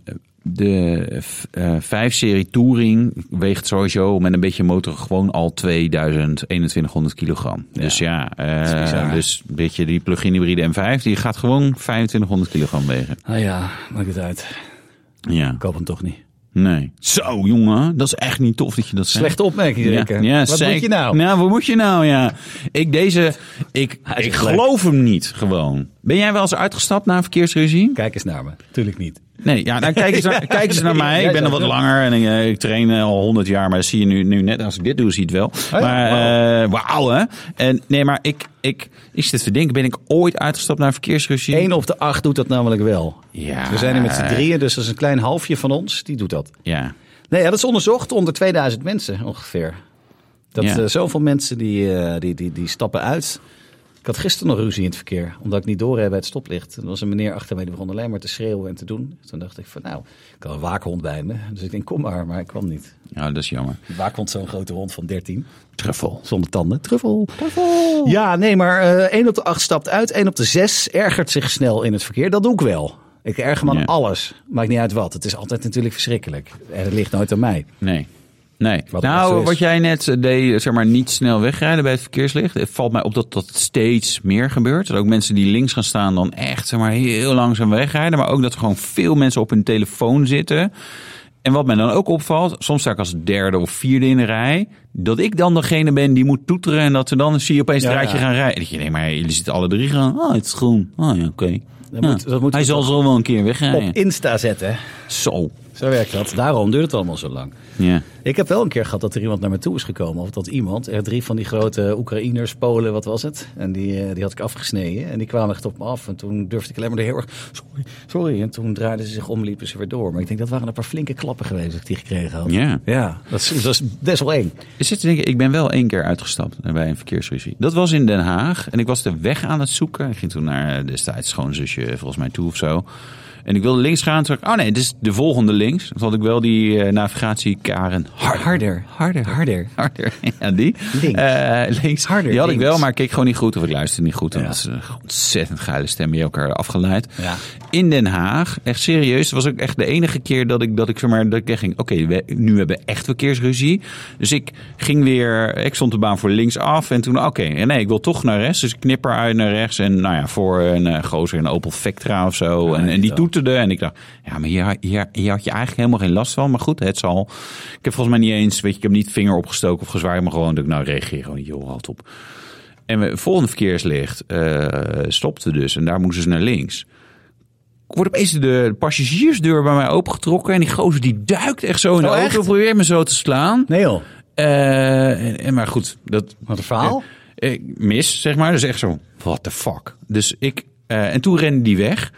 Speaker 2: de eh, 5-serie Touring weegt sowieso met een beetje motor gewoon al 2000, 2100 kilogram. Dus ja, eh,
Speaker 1: is bizar, hè?
Speaker 2: dus weet je, die plug-in hybride M5, die gaat gewoon 2500 kilogram wegen.
Speaker 1: Nou ja, maakt het uit.
Speaker 2: Ja.
Speaker 1: Ik koop hem toch niet.
Speaker 2: Nee. Zo, jongen. Dat is echt niet tof dat je dat zegt.
Speaker 1: Slechte opmerking,
Speaker 2: Ja,
Speaker 1: Rikke.
Speaker 2: ja,
Speaker 1: Wat
Speaker 2: zeker.
Speaker 1: moet je nou?
Speaker 2: Nou, wat moet je nou, ja. Ik deze... Ik,
Speaker 1: is
Speaker 2: ik
Speaker 1: echt leuk.
Speaker 2: geloof hem niet, gewoon. Ben jij wel eens uitgestapt na een verkeersruzie?
Speaker 1: Kijk eens naar me. Tuurlijk niet.
Speaker 2: Nee, ja, nou, kijk, eens naar, kijk eens naar mij. Ik ben al wat langer en ik, eh, ik train eh, al 100 jaar. Maar dat zie je nu, nu net als ik dit doe, zie je het wel.
Speaker 1: ja?
Speaker 2: Maar eh, wauw, hè. En, nee, maar ik... ik ik zit te denken, ben ik ooit uitgestapt naar een verkeersruzie?
Speaker 1: Eén op de acht doet dat namelijk wel.
Speaker 2: Ja.
Speaker 1: We zijn er met z'n drieën, dus dat is een klein halfje van ons. Die doet dat.
Speaker 2: Ja.
Speaker 1: Nee, ja, dat is onderzocht onder 2000 mensen ongeveer. Dat
Speaker 2: Ja.
Speaker 1: eh, zoveel mensen die, eh, die, die, die stappen uit. Ik had gisteren nog ruzie in het verkeer, omdat ik niet doorreed bij het stoplicht. Er was een meneer achter mij die begon alleen maar te schreeuwen en te doen. Toen dacht ik van nou, ik had een waakhond bij me. Dus ik denk kom maar, maar ik kwam niet.
Speaker 2: Ja, Nou, dat is jammer.
Speaker 1: Die waakhond zo'n grote hond van 13.
Speaker 2: Truffel.
Speaker 1: Zonder tanden. Truffel. Ja, nee, maar eh, één op de acht stapt uit. één op de zes ergert zich snel in het verkeer. Dat doe ik wel. Ik erger me aan
Speaker 2: Ja.
Speaker 1: alles. Maakt niet uit wat. Het is altijd natuurlijk verschrikkelijk. En het ligt nooit aan mij.
Speaker 2: Nee. Nee.
Speaker 1: Wat echt zo
Speaker 2: nou,
Speaker 1: is.
Speaker 2: wat jij net deed, eh, zeg maar niet snel wegrijden bij het verkeerslicht. Het valt mij op dat dat steeds meer gebeurt. Dat ook mensen die links gaan staan dan echt zeg maar, heel langzaam wegrijden. Maar ook dat er gewoon veel mensen op hun telefoon zitten. En wat mij dan ook opvalt, soms sta ik als derde of vierde in de rij. Dat ik dan degene ben die moet toeteren en dat ze dan zie je opeens het
Speaker 1: Ja,
Speaker 2: rijtje
Speaker 1: ja.
Speaker 2: gaan rijden. En dat je denkt, maar jullie zitten alle drie gaan. Oh, het is groen. Oh ja, oké.
Speaker 1: Dat
Speaker 2: Ja.
Speaker 1: moet- dat moeten
Speaker 2: Hij
Speaker 1: we
Speaker 2: zal zo wel een keer wegrijden.
Speaker 1: Op Insta zetten.
Speaker 2: Zo.
Speaker 1: Zo werkt dat. Daarom duurt het allemaal zo lang.
Speaker 2: Ja.
Speaker 1: Ik heb wel een keer gehad dat er iemand naar me toe is gekomen. Of dat iemand, er drie van die grote Oekraïners, Polen, wat was het? En die, eh, die had ik afgesneden. En die kwamen echt op me af. En toen durfde ik alleen maar heel erg, sorry, sorry. En toen draaiden ze zich om, liepen ze weer door. Maar ik denk, dat waren een paar flinke klappen geweest dat ik die gekregen had.
Speaker 2: Ja.
Speaker 1: Ja, dat is, dat is best wel eng.
Speaker 2: Ik zit te denken, ik ben wel één keer uitgestapt bij een verkeersruzie. Dat was in Den Haag en ik was de weg aan het zoeken. Ik ging toen naar eh, destijds schoonzusje volgens mij toe of zo. En ik wilde links gaan. Toen dacht ik, oh nee, dit is de volgende links. Toen had ik wel die eh, navigatiekaren harder.
Speaker 1: Harder.
Speaker 2: Harder.
Speaker 1: Harder.
Speaker 2: Harder. Ja, die.
Speaker 1: Links.
Speaker 2: Eh, links.
Speaker 1: Harder,
Speaker 2: Die had ik
Speaker 1: links.
Speaker 2: wel, maar ik keek gewoon niet goed of ik luisterde niet goed. En
Speaker 1: Ja.
Speaker 2: dat is een ontzettend geile stem die elkaar afgeleid.
Speaker 1: Ja.
Speaker 2: In Den Haag, echt serieus, het was ook echt de enige keer dat ik, dat ik, zeg maar, dat ik echt ging... Oké, we- nu hebben we echt verkeersruzie. Dus ik ging weer... Ik stond de baan voor links af en toen... Oké, nee, ik wil toch naar rechts. Dus ik knipper uit naar rechts. En nou ja, voor een eh, gozer in een Opel Vectra of zo. en, en die toeterde. En ik dacht, ja, maar hier, hier, hier had je eigenlijk helemaal geen last van. Maar goed, het zal... Ik heb volgens mij niet eens... Weet je, ik heb niet vinger opgestoken of gezwaaid. Maar gewoon dat ik nou reageer. Gewoon, joh, halt op. En we, het volgende verkeerslicht eh, stopte dus. En daar moesten ze naar links. Wordt opeens de passagiersdeur bij mij opengetrokken. En die gozer die duikt echt zo in de
Speaker 1: Oh,
Speaker 2: auto.
Speaker 1: echt?
Speaker 2: Probeert me zo te slaan.
Speaker 1: Nee joh,
Speaker 2: Eh, en, en maar goed, dat
Speaker 1: wat een verhaal.
Speaker 2: eh, eh, mis, zeg maar. Dus echt zo, what the fuck. Dus ik, eh, en toen rende die weg.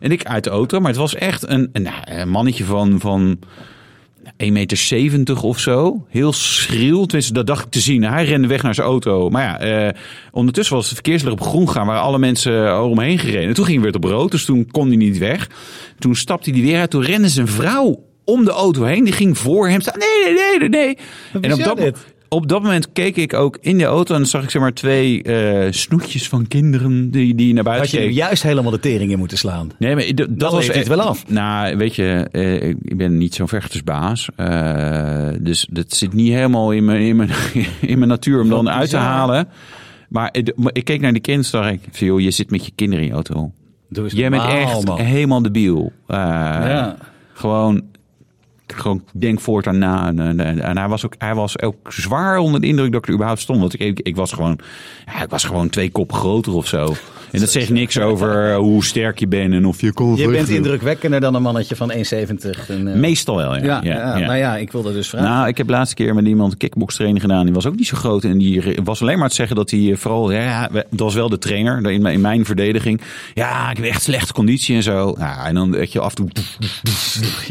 Speaker 2: En ik uit de auto, maar het was echt een, een, nou, een mannetje van, van 1,70 meter of zo. Heel schriel, tenminste dat dacht ik te zien. Hij rende weg naar zijn auto. Maar ja, eh, ondertussen was het verkeerslicht op groen gaan, waren alle mensen omheen gereden. En toen ging hij weer op rood, dus toen kon hij niet weg. Toen stapte hij weer uit, toen rende zijn vrouw om de auto heen. Die ging voor hem staan. Nee, nee, nee, nee, nee. En op
Speaker 1: bizar
Speaker 2: dat, mo-
Speaker 1: dit.
Speaker 2: op dat moment keek ik ook in de auto en zag ik zeg maar twee eh, snoetjes van kinderen die, die naar buiten
Speaker 1: Had je er
Speaker 2: keken.
Speaker 1: juist helemaal de tering in moeten slaan.
Speaker 2: Nee, maar d- dat
Speaker 1: Dan
Speaker 2: was
Speaker 1: leeft het
Speaker 2: echt-
Speaker 1: wel af.
Speaker 2: Nou, weet je, eh, ik ik ben niet zo'n vechtersbaas. Eh, dus dat zit niet helemaal in mijn, in mijn, in mijn natuur om dan uit te
Speaker 1: bizar.
Speaker 2: halen. Maar ik, maar ik keek naar die kinderen en dacht ik, van, joh, je zit met je kinderen in je auto.
Speaker 1: Doe eens
Speaker 2: Jij bent
Speaker 1: normaal,
Speaker 2: echt
Speaker 1: man.
Speaker 2: helemaal debiel. Eh
Speaker 1: Ja.
Speaker 2: Gewoon, gewoon denk voortaan na. En, en, en- en hij was ook, hij was ook zwaar onder de indruk dat ik er überhaupt stond. Want ik, ik, ik was gewoon, ja, ik was gewoon twee kop groter of zo. En dat zegt niks over eh, hoe sterk je bent en of je kon.
Speaker 1: Je bent indrukwekkender dan een mannetje van 1,70. En, eh,
Speaker 2: Meestal wel, ja.
Speaker 1: ja,
Speaker 2: ja,
Speaker 1: ja,
Speaker 2: ja.
Speaker 1: Nou ja, ik wilde dus vragen.
Speaker 2: Nou, ik heb laatste keer met iemand kickbokstraining gedaan. Die was ook niet zo groot. En die re- was alleen maar te zeggen dat hij eh, vooral... Ja, we- dat was wel de trainer in mijn, in mijn verdediging. Ja, ik heb echt slechte conditie en zo. Ja, en dan weet je af en toe...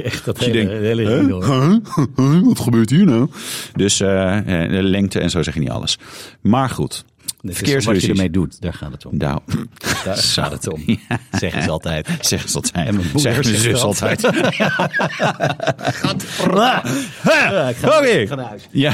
Speaker 1: echt dat
Speaker 2: je
Speaker 1: hele,
Speaker 2: denkt,
Speaker 1: hele
Speaker 2: hè?
Speaker 1: enorm.
Speaker 2: Huh? Huh? Wat gebeurt hier nou? Dus eh, eh, lengte en zo zeg je niet alles. Maar goed.
Speaker 1: Dit is Wat je
Speaker 2: Verkeersruzies.
Speaker 1: ermee doet, daar gaat het om.
Speaker 2: Nou,
Speaker 1: Daar
Speaker 2: Zo.
Speaker 1: gaat het om. Zeggen ze altijd.
Speaker 2: zeggen ze altijd.
Speaker 1: En mijn moeder
Speaker 2: Zeggen mijn
Speaker 1: zegt
Speaker 2: zus
Speaker 1: dat.
Speaker 2: altijd. Ah,
Speaker 1: Ja, ik ga,
Speaker 2: Oké.
Speaker 1: ik ga naar huis.
Speaker 2: Ja.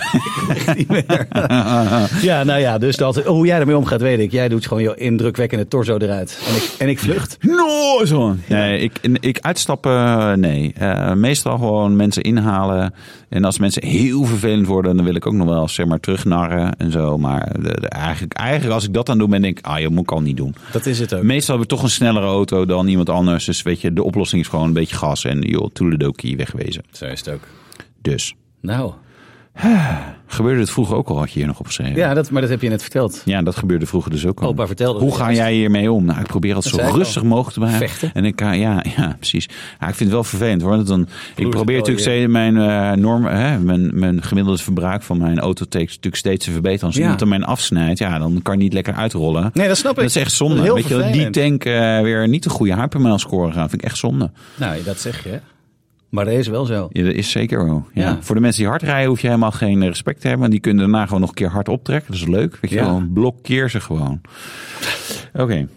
Speaker 1: Ja, nou ja, dus dat, hoe jij ermee omgaat, weet ik. Jij doet gewoon je indrukwekkende torso eruit. En ik, en ik vlucht.
Speaker 2: No, zo. Nee, ik, ik uitstappen, nee. Eh, meestal gewoon mensen inhalen. En als mensen heel vervelend worden, dan wil ik ook nog wel zeg maar terugnarren en zo. Maar de- de- eigenlijk, eigenlijk als ik dat aan doe, ben ik, ah je moet ik al niet doen.
Speaker 1: Dat is het ook.
Speaker 2: Meestal hebben we toch een snellere auto dan iemand anders. Dus weet je, de oplossing is gewoon een beetje gas en joh, toeledokie wegwezen.
Speaker 1: Zo is het ook.
Speaker 2: Dus,
Speaker 1: Nou,
Speaker 2: gebeurde het vroeger ook al, had je hier nog opgeschreven.
Speaker 1: ja, dat, maar dat heb je net verteld.
Speaker 2: Ja, dat gebeurde vroeger dus ook al.
Speaker 1: Opa vertelde
Speaker 2: Hoe
Speaker 1: het
Speaker 2: ga
Speaker 1: eerst.
Speaker 2: jij hiermee om? Nou, ik probeer het zo
Speaker 1: zei ik al.
Speaker 2: rustig mogelijk te behouden.
Speaker 1: Vechten.
Speaker 2: En ik kan, ja, ja, precies. Ja, ik vind het wel vervelend hoor. want dan, ik
Speaker 1: het
Speaker 2: probeer
Speaker 1: wel
Speaker 2: natuurlijk
Speaker 1: weer.
Speaker 2: steeds mijn, eh, norm, hè, mijn, mijn gemiddelde verbruik van mijn auto takes natuurlijk steeds te verbeteren. Als
Speaker 1: Ja.
Speaker 2: iemand er mijn afsnijdt, ja, dan kan je niet lekker uitrollen.
Speaker 1: Nee, dat snap ik.
Speaker 2: Dat is echt zonde.
Speaker 1: Dat is heel
Speaker 2: Weet je, dat die
Speaker 1: vervelend.
Speaker 2: tank eh, weer niet de goede hypermail score gaat. Vind ik echt zonde.
Speaker 1: Nou, dat zeg je. hè. Maar dat is wel zo.
Speaker 2: Ja, dat is zeker wel. Ja.
Speaker 1: Ja.
Speaker 2: Voor de mensen die hard rijden hoef je helemaal geen respect te hebben. Want die kunnen daarna gewoon nog een keer hard optrekken. Dat is leuk. Weet je
Speaker 1: Ja.
Speaker 2: wel, blokkeer ze gewoon. Oké.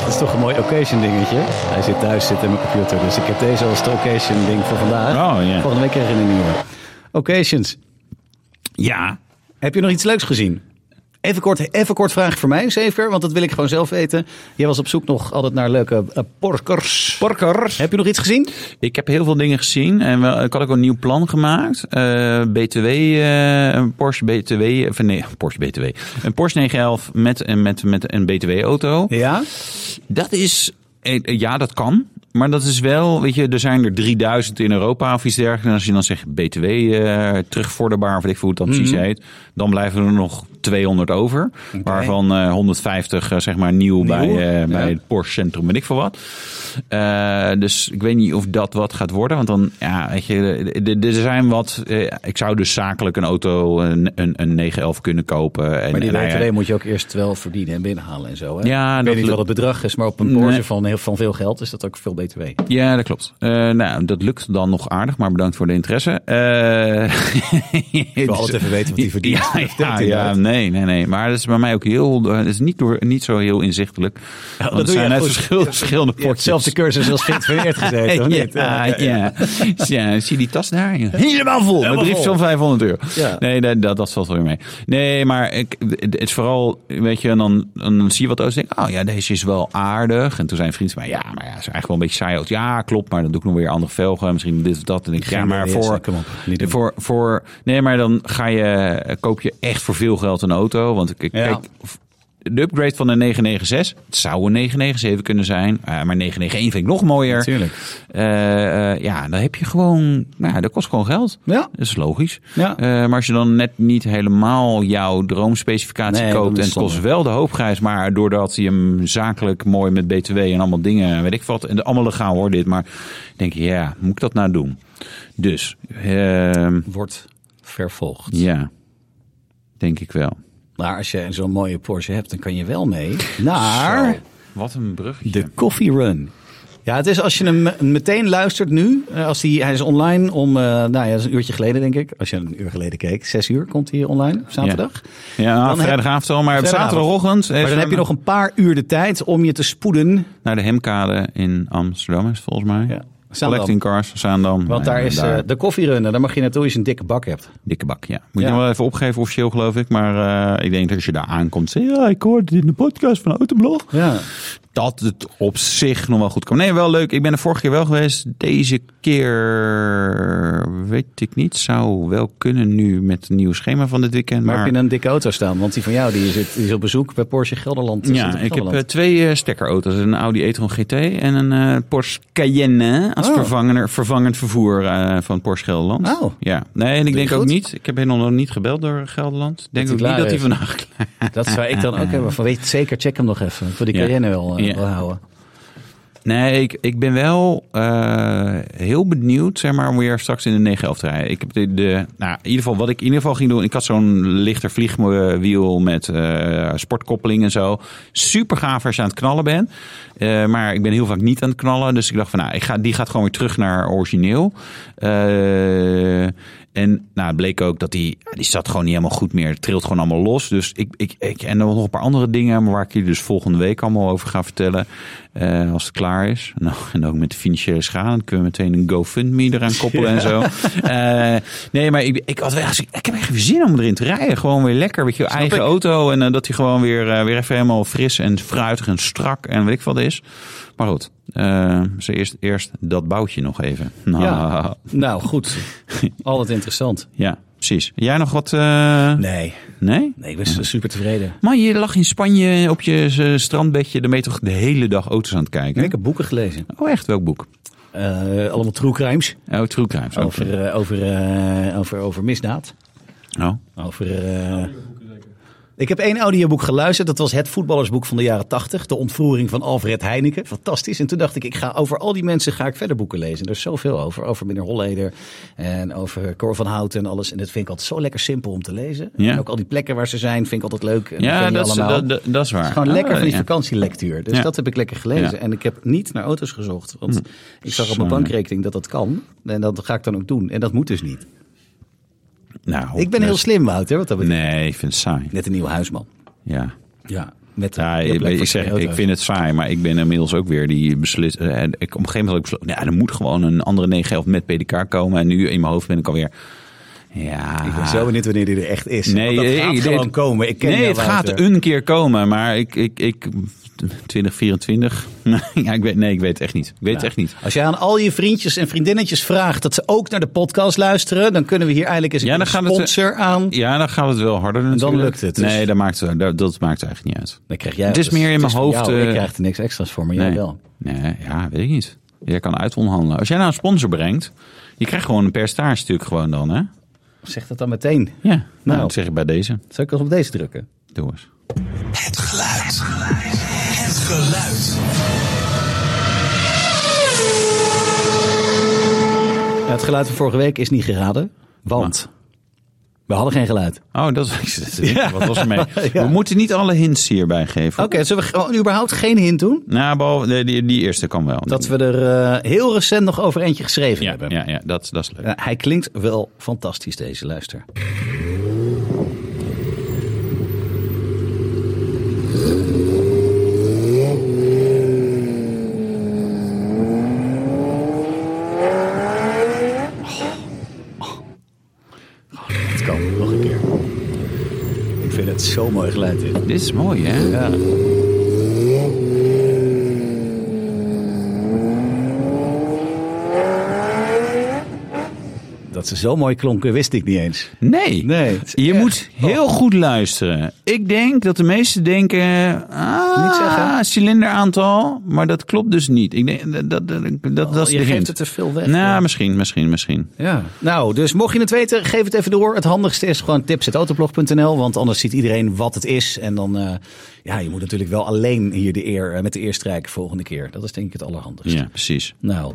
Speaker 1: Dat is toch een mooi occasion dingetje. Hij zit thuis, zit in mijn computer. Dus ik heb deze als het occasion ding voor vandaag.
Speaker 2: Oh, ja.
Speaker 1: Volgende week krijg je een nieuwe. Occasions.
Speaker 2: Ja.
Speaker 1: Heb je nog iets leuks gezien? Even kort, even kort vraag voor mij, Zeker, want dat wil ik gewoon zelf weten. Jij was op zoek nog altijd naar leuke eh, porkers.
Speaker 2: Porkers.
Speaker 1: Heb je nog iets gezien?
Speaker 2: Ik heb heel veel dingen gezien en wel, ik had ook een nieuw plan gemaakt. Eh, BTW, eh, een Porsche BTW, of nee, Porsche BTW. Een Porsche 911 met, een- met, met een BTW-auto.
Speaker 1: Ja.
Speaker 2: Dat is, eh, eh, ja, dat kan. Maar dat is wel, weet je, er zijn er 3000 in Europa of iets dergelijks. En als je dan zegt BTW eh, terugvorderbaar, of weet ik veel hoe het dan precies
Speaker 1: Mhm.
Speaker 2: heet. Dan blijven er nog 200 over. Waarvan eh, 150, eh, zeg maar, nieuw, bij, eh,
Speaker 1: ja.
Speaker 2: bij het Porsche Centrum, weet ik veel wat. Eh, dus ik weet niet of dat wat gaat worden. Want dan, ja, weet je, d- d- er zijn wat... eh, ik zou dus zakelijk een auto, een, een, een 911 kunnen kopen. En,
Speaker 1: Maar die
Speaker 2: en nou ja,
Speaker 1: BTW moet je ook eerst wel verdienen en binnenhalen en zo. Hè?
Speaker 2: Ja,
Speaker 1: ik
Speaker 2: dat
Speaker 1: weet niet
Speaker 2: lukt.
Speaker 1: wat het bedrag is, maar op een Porsche
Speaker 2: Nee.
Speaker 1: van, heel, van veel geld is dat ook veel BTW.
Speaker 2: Ja, dat klopt. Eh, nou, dat lukt dan nog aardig, maar bedankt voor de interesse. ik
Speaker 1: wil altijd even weten wat die verdient.
Speaker 2: Ja,
Speaker 1: Dat
Speaker 2: ja,
Speaker 1: inderdaad.
Speaker 2: ja, nee, nee, nee. Maar dat is bij mij ook heel, eh, het is niet, door, niet zo heel inzichtelijk. Want
Speaker 1: doe
Speaker 2: het
Speaker 1: je
Speaker 2: zijn net
Speaker 1: goed.
Speaker 2: verschil- verschillende
Speaker 1: Je hebt
Speaker 2: potjes.
Speaker 1: zelf de cursus als Vint van Eert gezeten, of niet? eh,
Speaker 2: Ja, ja, ja. Ja, Zie die tas daar? Ja. Helemaal vol. Met
Speaker 1: Helemaal
Speaker 2: briefjes
Speaker 1: vol.
Speaker 2: van 500 euro.
Speaker 1: Ja.
Speaker 2: Nee, dat, dat, dat valt wel weer mee. Nee, maar ik, het is vooral, weet je, en dan, dan zie je wat auto's. Denk, ik, oh ja, deze is wel aardig. En toen zijn vrienden van mij, ja, maar ja, het is eigenlijk wel een beetje saai. auto. Ja, klopt, maar dan doe ik nog weer andere velgen. Misschien dit of dat. En ik, ja,
Speaker 1: Geen
Speaker 2: maar
Speaker 1: idee,
Speaker 2: voor,
Speaker 1: kom op, niet doen.
Speaker 2: voor, voor, nee, maar dan ga je, koop je echt voor veel geld een auto. Want ik, ik
Speaker 1: Ja.
Speaker 2: kijk, de upgrade van een 996. Het zou een 997 kunnen zijn. eh, maar 991 vind ik nog mooier.
Speaker 1: Natuurlijk.
Speaker 2: Eh, eh, ja, dan heb je gewoon... Nou, ja, dat kost gewoon geld.
Speaker 1: Ja.
Speaker 2: Dat is logisch.
Speaker 1: Ja.
Speaker 2: Eh, maar als je dan net niet helemaal jouw droomspecificatie
Speaker 1: Nee, dan
Speaker 2: koopt...
Speaker 1: is
Speaker 2: en
Speaker 1: het
Speaker 2: het kost
Speaker 1: zonde.
Speaker 2: wel de hoofdprijs... maar doordat hij hem zakelijk mooi met btw en allemaal dingen... weet ik wat, en allemaal legaal hoor dit... maar denk je, ja, moet ik dat nou doen? Dus, ehm,
Speaker 1: Wordt vervolgd.
Speaker 2: ja, denk ik wel.
Speaker 1: Maar als je zo'n mooie Porsche hebt, dan kan je wel mee naar...
Speaker 2: Wat een brug.
Speaker 1: De Coffee Run. Ja, het is als je hem meteen luistert nu. eh, Als die, hij is online om, eh, nou ja, dat is een uurtje geleden denk ik. Als je een uur geleden keek, zes uur komt hij online op zaterdag.
Speaker 2: Ja,
Speaker 1: heb-
Speaker 2: vrijdagavond al, maar op
Speaker 1: Vrijdagavond.
Speaker 2: zaterdagochtend.
Speaker 1: Maar dan heb je nog een paar uur de tijd om je te spoeden.
Speaker 2: Naar de Hemkade in Amsterdam is het volgens mij.
Speaker 1: Ja. Zaandam.
Speaker 2: Collecting Cars, Zaandam.
Speaker 1: Want
Speaker 2: Nou
Speaker 1: daar
Speaker 2: ja,
Speaker 1: is eh, de koffierun. en Daar mag je naartoe als je een dikke bak hebt.
Speaker 2: Dikke bak, ja. Moet
Speaker 1: Ja.
Speaker 2: je nog wel even opgeven officieel geloof ik. Maar eh, ik denk dat als je daar aankomt, zeg je, ja, ik hoorde dit in de podcast van Autoblog.
Speaker 1: Ja.
Speaker 2: dat het op zich nog wel goed kan. Nee, wel leuk. Ik ben er vorige keer wel geweest. Deze keer weet ik niet. Zou wel kunnen nu met het nieuwe schema van dit weekend.
Speaker 1: Maar
Speaker 2: Maar,
Speaker 1: heb je een dikke auto staan? Want die van jou die is, die is op bezoek bij Porsche Gelderland. Die zit
Speaker 2: ja,
Speaker 1: op
Speaker 2: ik heb eh,
Speaker 1: Gelderland.
Speaker 2: twee eh, stekkerauto's. Een Audi e-tron GT en een eh, Porsche Cayenne als
Speaker 1: Oh.
Speaker 2: vervanger, vervangend vervoer eh, van Porsche Gelderland.
Speaker 1: Oh.
Speaker 2: Ja, nee, en ik denk ook
Speaker 1: goed?
Speaker 2: niet. Ik heb helemaal nog niet gebeld door Gelderland. Ik denk
Speaker 1: hij
Speaker 2: ook niet
Speaker 1: klaar
Speaker 2: dat hij
Speaker 1: is.
Speaker 2: vandaag
Speaker 1: Dat zou ik dan ook hebben. Van, weet je, zeker, check hem nog even. Voor die
Speaker 2: Ja.
Speaker 1: Cayenne wel, eh,
Speaker 2: Ja.
Speaker 1: wel houden.
Speaker 2: Nee, ik, ik ben wel eh, heel benieuwd, zeg maar, om weer straks in de 911 te rijden. Ik heb de, de- nou, in ieder geval, wat ik in ieder geval ging doen, ik had zo'n lichter vliegwiel met eh, sportkoppeling en zo. Super gaaf als je aan het knallen bent. Eh, maar ik ben heel vaak niet aan het knallen. Dus ik dacht van, nou, ik ga, die gaat gewoon weer terug naar origineel. Eh, en nou, het bleek ook dat die, die zat gewoon niet helemaal goed meer. Het trilt gewoon allemaal los. Dus ik, ik, ik, en dan nog een paar andere dingen, maar waar ik jullie dus volgende week allemaal over ga vertellen. eh, als het klaar is. Nou, en ook met de financiële schade. Dan kunnen we meteen een GoFundMe eraan koppelen en zo. Eh, nee, maar ik, ik, had wel, gezien, ik heb echt weer zin om erin te rijden. Gewoon weer lekker. Weet je, eigen
Speaker 1: ik.
Speaker 2: auto. En eh, dat hij gewoon weer, eh, weer even helemaal fris en fruitig en strak en weet ik wat is. Maar goed, eh, dus eerst, eerst dat boutje nog even. Nou,
Speaker 1: Ja.
Speaker 2: ja.
Speaker 1: Nou, goed. Altijd interessant.
Speaker 2: precies. Jij nog wat? eh,
Speaker 1: Nee.
Speaker 2: Nee?
Speaker 1: Nee, ik ben su- super tevreden.
Speaker 2: Maar je lag in Spanje op je eh, strandbedje. Dan ben je toch de hele dag auto's aan het kijken?
Speaker 1: En ik heb boeken gelezen.
Speaker 2: Oh, echt? Welk boek?
Speaker 1: Eh, allemaal true crimes.
Speaker 2: Oh, True Crimes. Oh,
Speaker 1: Over, eh, over, eh, over, over misdaad.
Speaker 2: oh.
Speaker 1: Over. eh, ik heb één audioboek geluisterd. Dat was het voetballersboek van de jaren 80. De ontvoering van Alfred Heineken. Fantastisch. En toen dacht ik, ik ga over al die mensen ga ik verder boeken lezen. Er is zoveel over. Over meneer Holleder en over Cor van Houten en alles. En dat vind ik altijd zo lekker simpel om te lezen.
Speaker 2: Ja.
Speaker 1: En ook al die plekken waar ze zijn, vind ik altijd leuk. En ken
Speaker 2: Ja,
Speaker 1: je
Speaker 2: dat is,
Speaker 1: allemaal.
Speaker 2: dat, dat- dat is waar.
Speaker 1: Het is gewoon
Speaker 2: Oh,
Speaker 1: lekker van die
Speaker 2: ja.
Speaker 1: vakantielectuur. Dus
Speaker 2: Ja.
Speaker 1: dat heb ik lekker gelezen.
Speaker 2: Ja. Hm.
Speaker 1: En ik heb niet naar auto's gezocht. Want ik zag op
Speaker 2: Zo,
Speaker 1: mijn
Speaker 2: ja.
Speaker 1: bankrekening dat dat kan. En dat ga ik dan ook doen. En dat moet dus niet.
Speaker 2: Nou,
Speaker 1: Ik ben heel
Speaker 2: dus-
Speaker 1: slim, Wouter. Wat dat betreft.
Speaker 2: Nee, ik vind het saai.
Speaker 1: Net een nieuwe huisman.
Speaker 2: Ja.
Speaker 1: Ja, met
Speaker 2: Ja, ik, ik zeg, ik vind het saai, maar ik ben inmiddels ook weer die beslis. eh, en ik, op een gegeven moment had ik besloten, ja, er moet gewoon een andere 9 of met PDK komen. En nu in mijn hoofd ben ik alweer. Ja.
Speaker 1: Ik ben zo benieuwd wanneer die er echt is.
Speaker 2: Nee,
Speaker 1: Nee,
Speaker 2: eh,
Speaker 1: dat
Speaker 2: ik-
Speaker 1: gaat
Speaker 2: ik-
Speaker 1: gewoon
Speaker 2: het-
Speaker 1: komen. Ik ken
Speaker 2: nee,
Speaker 1: jou,
Speaker 2: het
Speaker 1: Wouter.
Speaker 2: gaat een keer komen, maar ik, ik, ik 2024. ja, ik weet, nee, ik weet het echt niet. Ik weet het
Speaker 1: Ja.
Speaker 2: echt niet.
Speaker 1: Als je aan al je vriendjes en vriendinnetjes vraagt dat ze ook naar de podcast luisteren, dan kunnen we hier eigenlijk eens
Speaker 2: Ja,
Speaker 1: een
Speaker 2: dan gaat het, eh,
Speaker 1: sponsor aan.
Speaker 2: Ja, dan gaat het wel harder. natuurlijk.
Speaker 1: lukt het, dus-
Speaker 2: Nee, dat maakt, dat, dat maakt eigenlijk niet uit.
Speaker 1: Dan krijg jij
Speaker 2: Het is meer in mijn
Speaker 1: van
Speaker 2: hoofd,
Speaker 1: jou.
Speaker 2: eh,
Speaker 1: Ik krijg er niks extra's voor, maar jij
Speaker 2: Nee.
Speaker 1: wel.
Speaker 2: nee, ja, weet ik niet. Jij kan uitonderhandelen. Als jij nou een sponsor brengt, je krijgt gewoon een percentage stuk gewoon dan, hè?
Speaker 1: Zeg dat dan meteen.
Speaker 2: Ja, nou,
Speaker 1: Nou.
Speaker 2: dat zeg ik bij deze.
Speaker 1: Zou ik nog op deze drukken?
Speaker 2: Doe eens.
Speaker 3: Het geluid. Het geluid.
Speaker 1: Ja, het geluid van vorige week is niet geraden, want we hadden geen geluid. Oké,
Speaker 2: Oh, dat was, wat was er mee?
Speaker 1: Ja.
Speaker 2: We moeten niet alle hints hierbij geven.
Speaker 1: zullen we gewoon überhaupt geen hint doen?
Speaker 2: Nou, behalve, nee, die, die eerste kan wel.
Speaker 1: Dat we er eh, heel recent nog over eentje geschreven
Speaker 2: ja,
Speaker 1: hebben.
Speaker 2: ja, ja, dat, dat is leuk.
Speaker 1: Ja, hij klinkt wel fantastisch, deze luister. Oh, dat kan. Nog een keer. Ik vind het zo mooi geluid dit.
Speaker 2: Dit is mooi, hè?
Speaker 1: Ja. Dat ze zo mooi klonken, wist ik niet eens.
Speaker 2: Nee.
Speaker 1: Nee, Oh. het is
Speaker 2: Je
Speaker 1: echt-
Speaker 2: moet heel goed luisteren. Ik denk dat de meesten denken, ah,
Speaker 1: Niet zeggen.
Speaker 2: cilinderaantal, maar dat klopt dus niet. Ik denk, dat, dat, dat, dat
Speaker 1: Oh,
Speaker 2: is
Speaker 1: je
Speaker 2: de
Speaker 1: geeft
Speaker 2: hint.
Speaker 1: het te veel weg,
Speaker 2: Nou,
Speaker 1: ja.
Speaker 2: misschien, misschien, misschien.
Speaker 1: Ja. Nou, dus mocht je het weten, geef het even door. Het handigste is gewoon tips.autoblog.nl, want anders ziet iedereen wat het is. En dan, eh, ja, je moet natuurlijk wel alleen hier de eer, eh, met de eer strijken volgende keer. Dat is denk ik het allerhandigste.
Speaker 2: Ja, precies.
Speaker 1: Nou,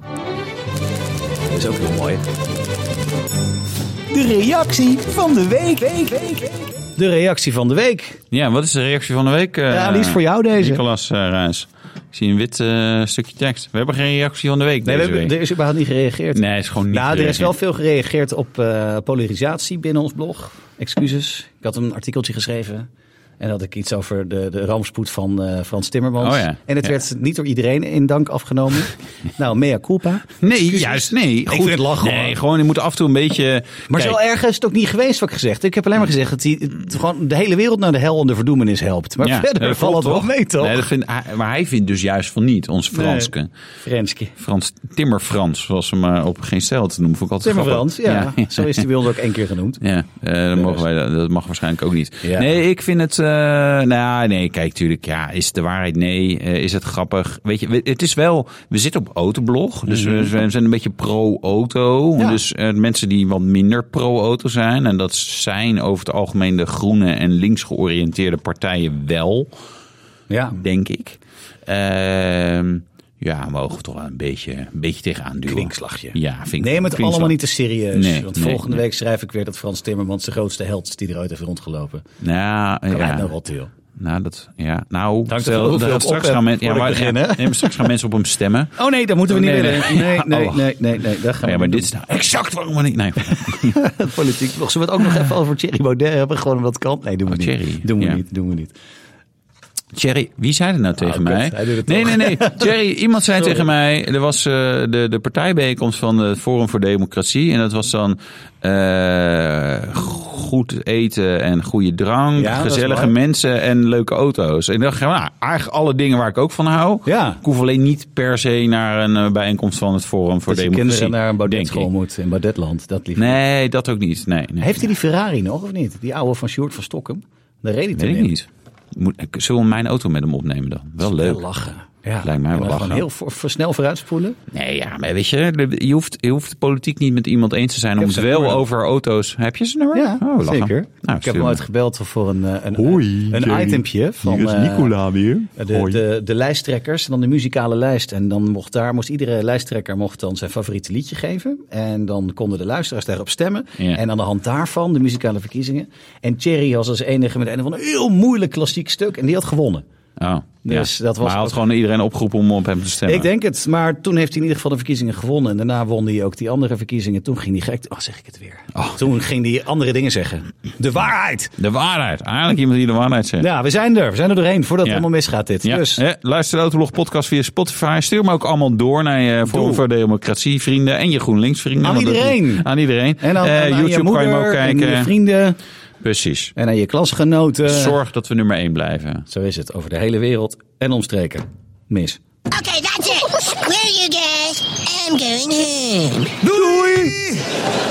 Speaker 1: dat is ook heel mooi. De reactie van de week. De reactie van de week.
Speaker 2: Ja, wat is de reactie van de week? eh,
Speaker 1: Ja, die is voor jou deze.
Speaker 2: Nicolas eh, Ruijs. Ik zie een wit eh, stukje tekst. We hebben geen reactie van de week
Speaker 1: Nee, we
Speaker 2: deze
Speaker 1: hebben,
Speaker 2: week.
Speaker 1: er is überhaupt niet gereageerd.
Speaker 2: Nee, is gewoon niet
Speaker 1: nou, er is
Speaker 2: gereageerd.
Speaker 1: wel veel gereageerd op eh, polarisatie binnen ons blog. Excuses. Ik had een artikeltje geschreven. En had ik iets over de, de rampspoed van eh, Frans Timmermans.
Speaker 2: Oh ja,
Speaker 1: En het
Speaker 2: ja.
Speaker 1: werd niet door iedereen in dank afgenomen. nou, mea culpa.
Speaker 2: Nee, juist nee.
Speaker 1: vind het lachen,
Speaker 2: Nee,
Speaker 1: hoor.
Speaker 2: gewoon je moet af en toe een beetje...
Speaker 1: Maar
Speaker 2: Kijk,
Speaker 1: zo erg is het ook niet geweest wat ik gezegd heb. Ik heb alleen maar gezegd dat hij het gewoon de hele wereld naar de hel en de verdoemenis helpt. Maar
Speaker 2: ja,
Speaker 1: verder
Speaker 2: dat
Speaker 1: valt het
Speaker 2: klopt
Speaker 1: wel mee toch?
Speaker 2: Nee, dat vindt hij- maar hij vindt dus juist van niet, ons Franske.
Speaker 1: Frenske.
Speaker 2: Frans Timmer Frans, zoals ze maar op geen stijl te noemen. Vond ik altijd
Speaker 1: Timmerfrans,
Speaker 2: grappig.
Speaker 1: ja. Zo is hij bij ons ook één keer genoemd.
Speaker 2: Ja, eh, dan mogen wij, dat- dat mag waarschijnlijk ook niet.
Speaker 1: Ja.
Speaker 2: Nee, ik vind het. eh, nou, ja, nee, kijk, tuurlijk. Ja, is het de waarheid? Nee. Eh, is het grappig? Weet je, we- het is wel. We zitten op autoblog. Dus we- we, zijn een beetje pro-auto.
Speaker 1: Mhm. Ja.
Speaker 2: Dus eh, mensen die wat minder pro-auto zijn. En dat zijn over het algemeen de groene en links georiënteerde partijen wel,
Speaker 1: Ja.
Speaker 2: denk ik. Ehm, ja, we mogen toch wel een beetje, een beetje tegenaan duwen.
Speaker 1: Kwinkslagje.
Speaker 2: Ja, vind ik wel.
Speaker 1: Neem het
Speaker 2: Kwinkslag.
Speaker 1: allemaal niet te serieus.
Speaker 2: Nee,
Speaker 1: want
Speaker 2: nee,
Speaker 1: volgende
Speaker 2: nee.
Speaker 1: week schrijf ik weer dat Frans Timmermans de grootste held is die eruit heeft rondgelopen.
Speaker 2: Nou,
Speaker 1: Kan hij
Speaker 2: ja.
Speaker 1: het nou rot, joh.
Speaker 2: Nou, dat, ja. Nou,
Speaker 1: er
Speaker 2: stel,
Speaker 1: van hoeveel
Speaker 2: dat
Speaker 1: ik op
Speaker 2: straks
Speaker 1: heb
Speaker 2: gaan mensen, ja,
Speaker 1: voordat
Speaker 2: maar,
Speaker 1: ik begin,
Speaker 2: ja,
Speaker 1: hè?
Speaker 2: nee, maar straks gaan mensen op hem stemmen.
Speaker 1: Oh nee, dat moeten we niet
Speaker 2: Nee,
Speaker 1: willen.
Speaker 2: nee.
Speaker 1: Nee, nee,
Speaker 2: Oh.
Speaker 1: nee, nee, nee. Dat gaan
Speaker 2: Ja,
Speaker 1: we
Speaker 2: maar
Speaker 1: niet
Speaker 2: dit
Speaker 1: doen.
Speaker 2: is nou exact waarom we niet. Nee,
Speaker 1: Het politiek. Zullen we het ook nog even over Thierry Baudet hebben? Gewoon omdat het kan. Nee, doen we
Speaker 2: Oh,
Speaker 1: niet.
Speaker 2: Thierry.
Speaker 1: Doen we
Speaker 2: Ja.
Speaker 1: niet, doen we niet.
Speaker 2: Thierry, wie zei dat nou tegen
Speaker 1: God,
Speaker 2: mij?
Speaker 1: hij doet het
Speaker 2: nee, nee,
Speaker 1: toch.
Speaker 2: nee. Thierry, iemand zei tegen mij. Er was eh, de, de partijbijeenkomst van het Forum voor Democratie. En dat was dan eh, goed eten en goede drank.
Speaker 1: Ja, dat is
Speaker 2: gezellige
Speaker 1: mooi.
Speaker 2: mensen en leuke auto's. En ik dacht, nou, eigenlijk alle dingen waar ik ook van hou.
Speaker 1: Ja.
Speaker 2: Ik hoef alleen niet per se naar een eh, bijeenkomst van het Forum voor
Speaker 1: Dat je
Speaker 2: Democratie.
Speaker 1: kinderen naar een
Speaker 2: denk ik.
Speaker 1: Baudet-school moeten in Baudetland. Dat lief.
Speaker 2: Nee, dat ook niet. Nee, nee.
Speaker 1: Heeft hij die Ferrari nog of niet? Die oude van Sjoerd van Stokkem? Daar reed hij toen
Speaker 2: Weet ik
Speaker 1: in.
Speaker 2: niet. Moet, ik- zullen we mijn auto met hem opnemen dan? Wel leuk.
Speaker 1: Wel lachen. Ja.
Speaker 2: Lijkt mij
Speaker 1: En dan
Speaker 2: wel lachen. Oh,
Speaker 1: Gewoon heel voor, voor snel vooruitspoelen.
Speaker 2: Nee, ja, maar weet je, de- je hoeft, je hoeft politiek niet met iemand eens te zijn om
Speaker 1: heb
Speaker 2: het
Speaker 1: zijn
Speaker 2: wel
Speaker 1: nummer.
Speaker 2: over auto's. Heb je ze nummer?
Speaker 1: Ja,
Speaker 2: oh, lachen.
Speaker 1: zeker.
Speaker 2: Nou,
Speaker 1: ik heb
Speaker 2: stuur
Speaker 1: hem
Speaker 2: maar.
Speaker 1: ooit gebeld voor een, eh, een,
Speaker 4: Hoi,
Speaker 1: een
Speaker 4: Jerry.
Speaker 1: itempje van
Speaker 4: Hier is
Speaker 1: eh,
Speaker 4: Nicola weer.
Speaker 1: de, de, de lijsttrekkers en dan de muzikale lijst. En dan mocht daar, moest iedere lijsttrekker mocht dan zijn favoriete liedje geven. En dan konden de luisteraars daarop stemmen.
Speaker 2: Ja.
Speaker 1: En aan de hand daarvan de muzikale verkiezingen. En Thierry was als enige met een van een heel moeilijk klassiek stuk. En die had gewonnen.
Speaker 2: Oh,
Speaker 1: Dus
Speaker 2: ja.
Speaker 1: dat was
Speaker 2: maar hij had
Speaker 1: ook-
Speaker 2: gewoon iedereen opgeroepen om op hem te stemmen.
Speaker 1: Ik denk het, maar toen heeft hij in ieder geval de verkiezingen gewonnen. En daarna won hij ook die andere verkiezingen. Toen ging hij gek. Oh, zeg ik het weer. Toen ging hij andere dingen zeggen. De waarheid!
Speaker 2: De waarheid. Eigenlijk iemand die de waarheid zegt.
Speaker 1: Ja, we zijn er. We zijn er doorheen voordat
Speaker 2: Ja.
Speaker 1: het allemaal misgaat dit.
Speaker 2: Ja, Eh,
Speaker 1: Dus
Speaker 2: hè, luister de Autolog podcast via Spotify. Stuur me ook allemaal door naar je Forum voor Democratie vrienden en je GroenLinks vrienden.
Speaker 1: Aan
Speaker 2: want dat-
Speaker 1: iedereen.
Speaker 2: Aan iedereen.
Speaker 1: en dan
Speaker 2: Eh,
Speaker 1: aan
Speaker 2: YouTube
Speaker 1: je moeder,
Speaker 2: kan je hem ook
Speaker 1: en je Eh.
Speaker 2: kijken.
Speaker 1: vrienden
Speaker 2: Precies.
Speaker 1: en aan je klasgenoten.
Speaker 2: Zorg dat we nummer 1 blijven.
Speaker 1: Zo is het over de hele wereld en omstreken. Mis.
Speaker 5: Okay, that's it. Where you guys? I'm going home.
Speaker 2: Doei!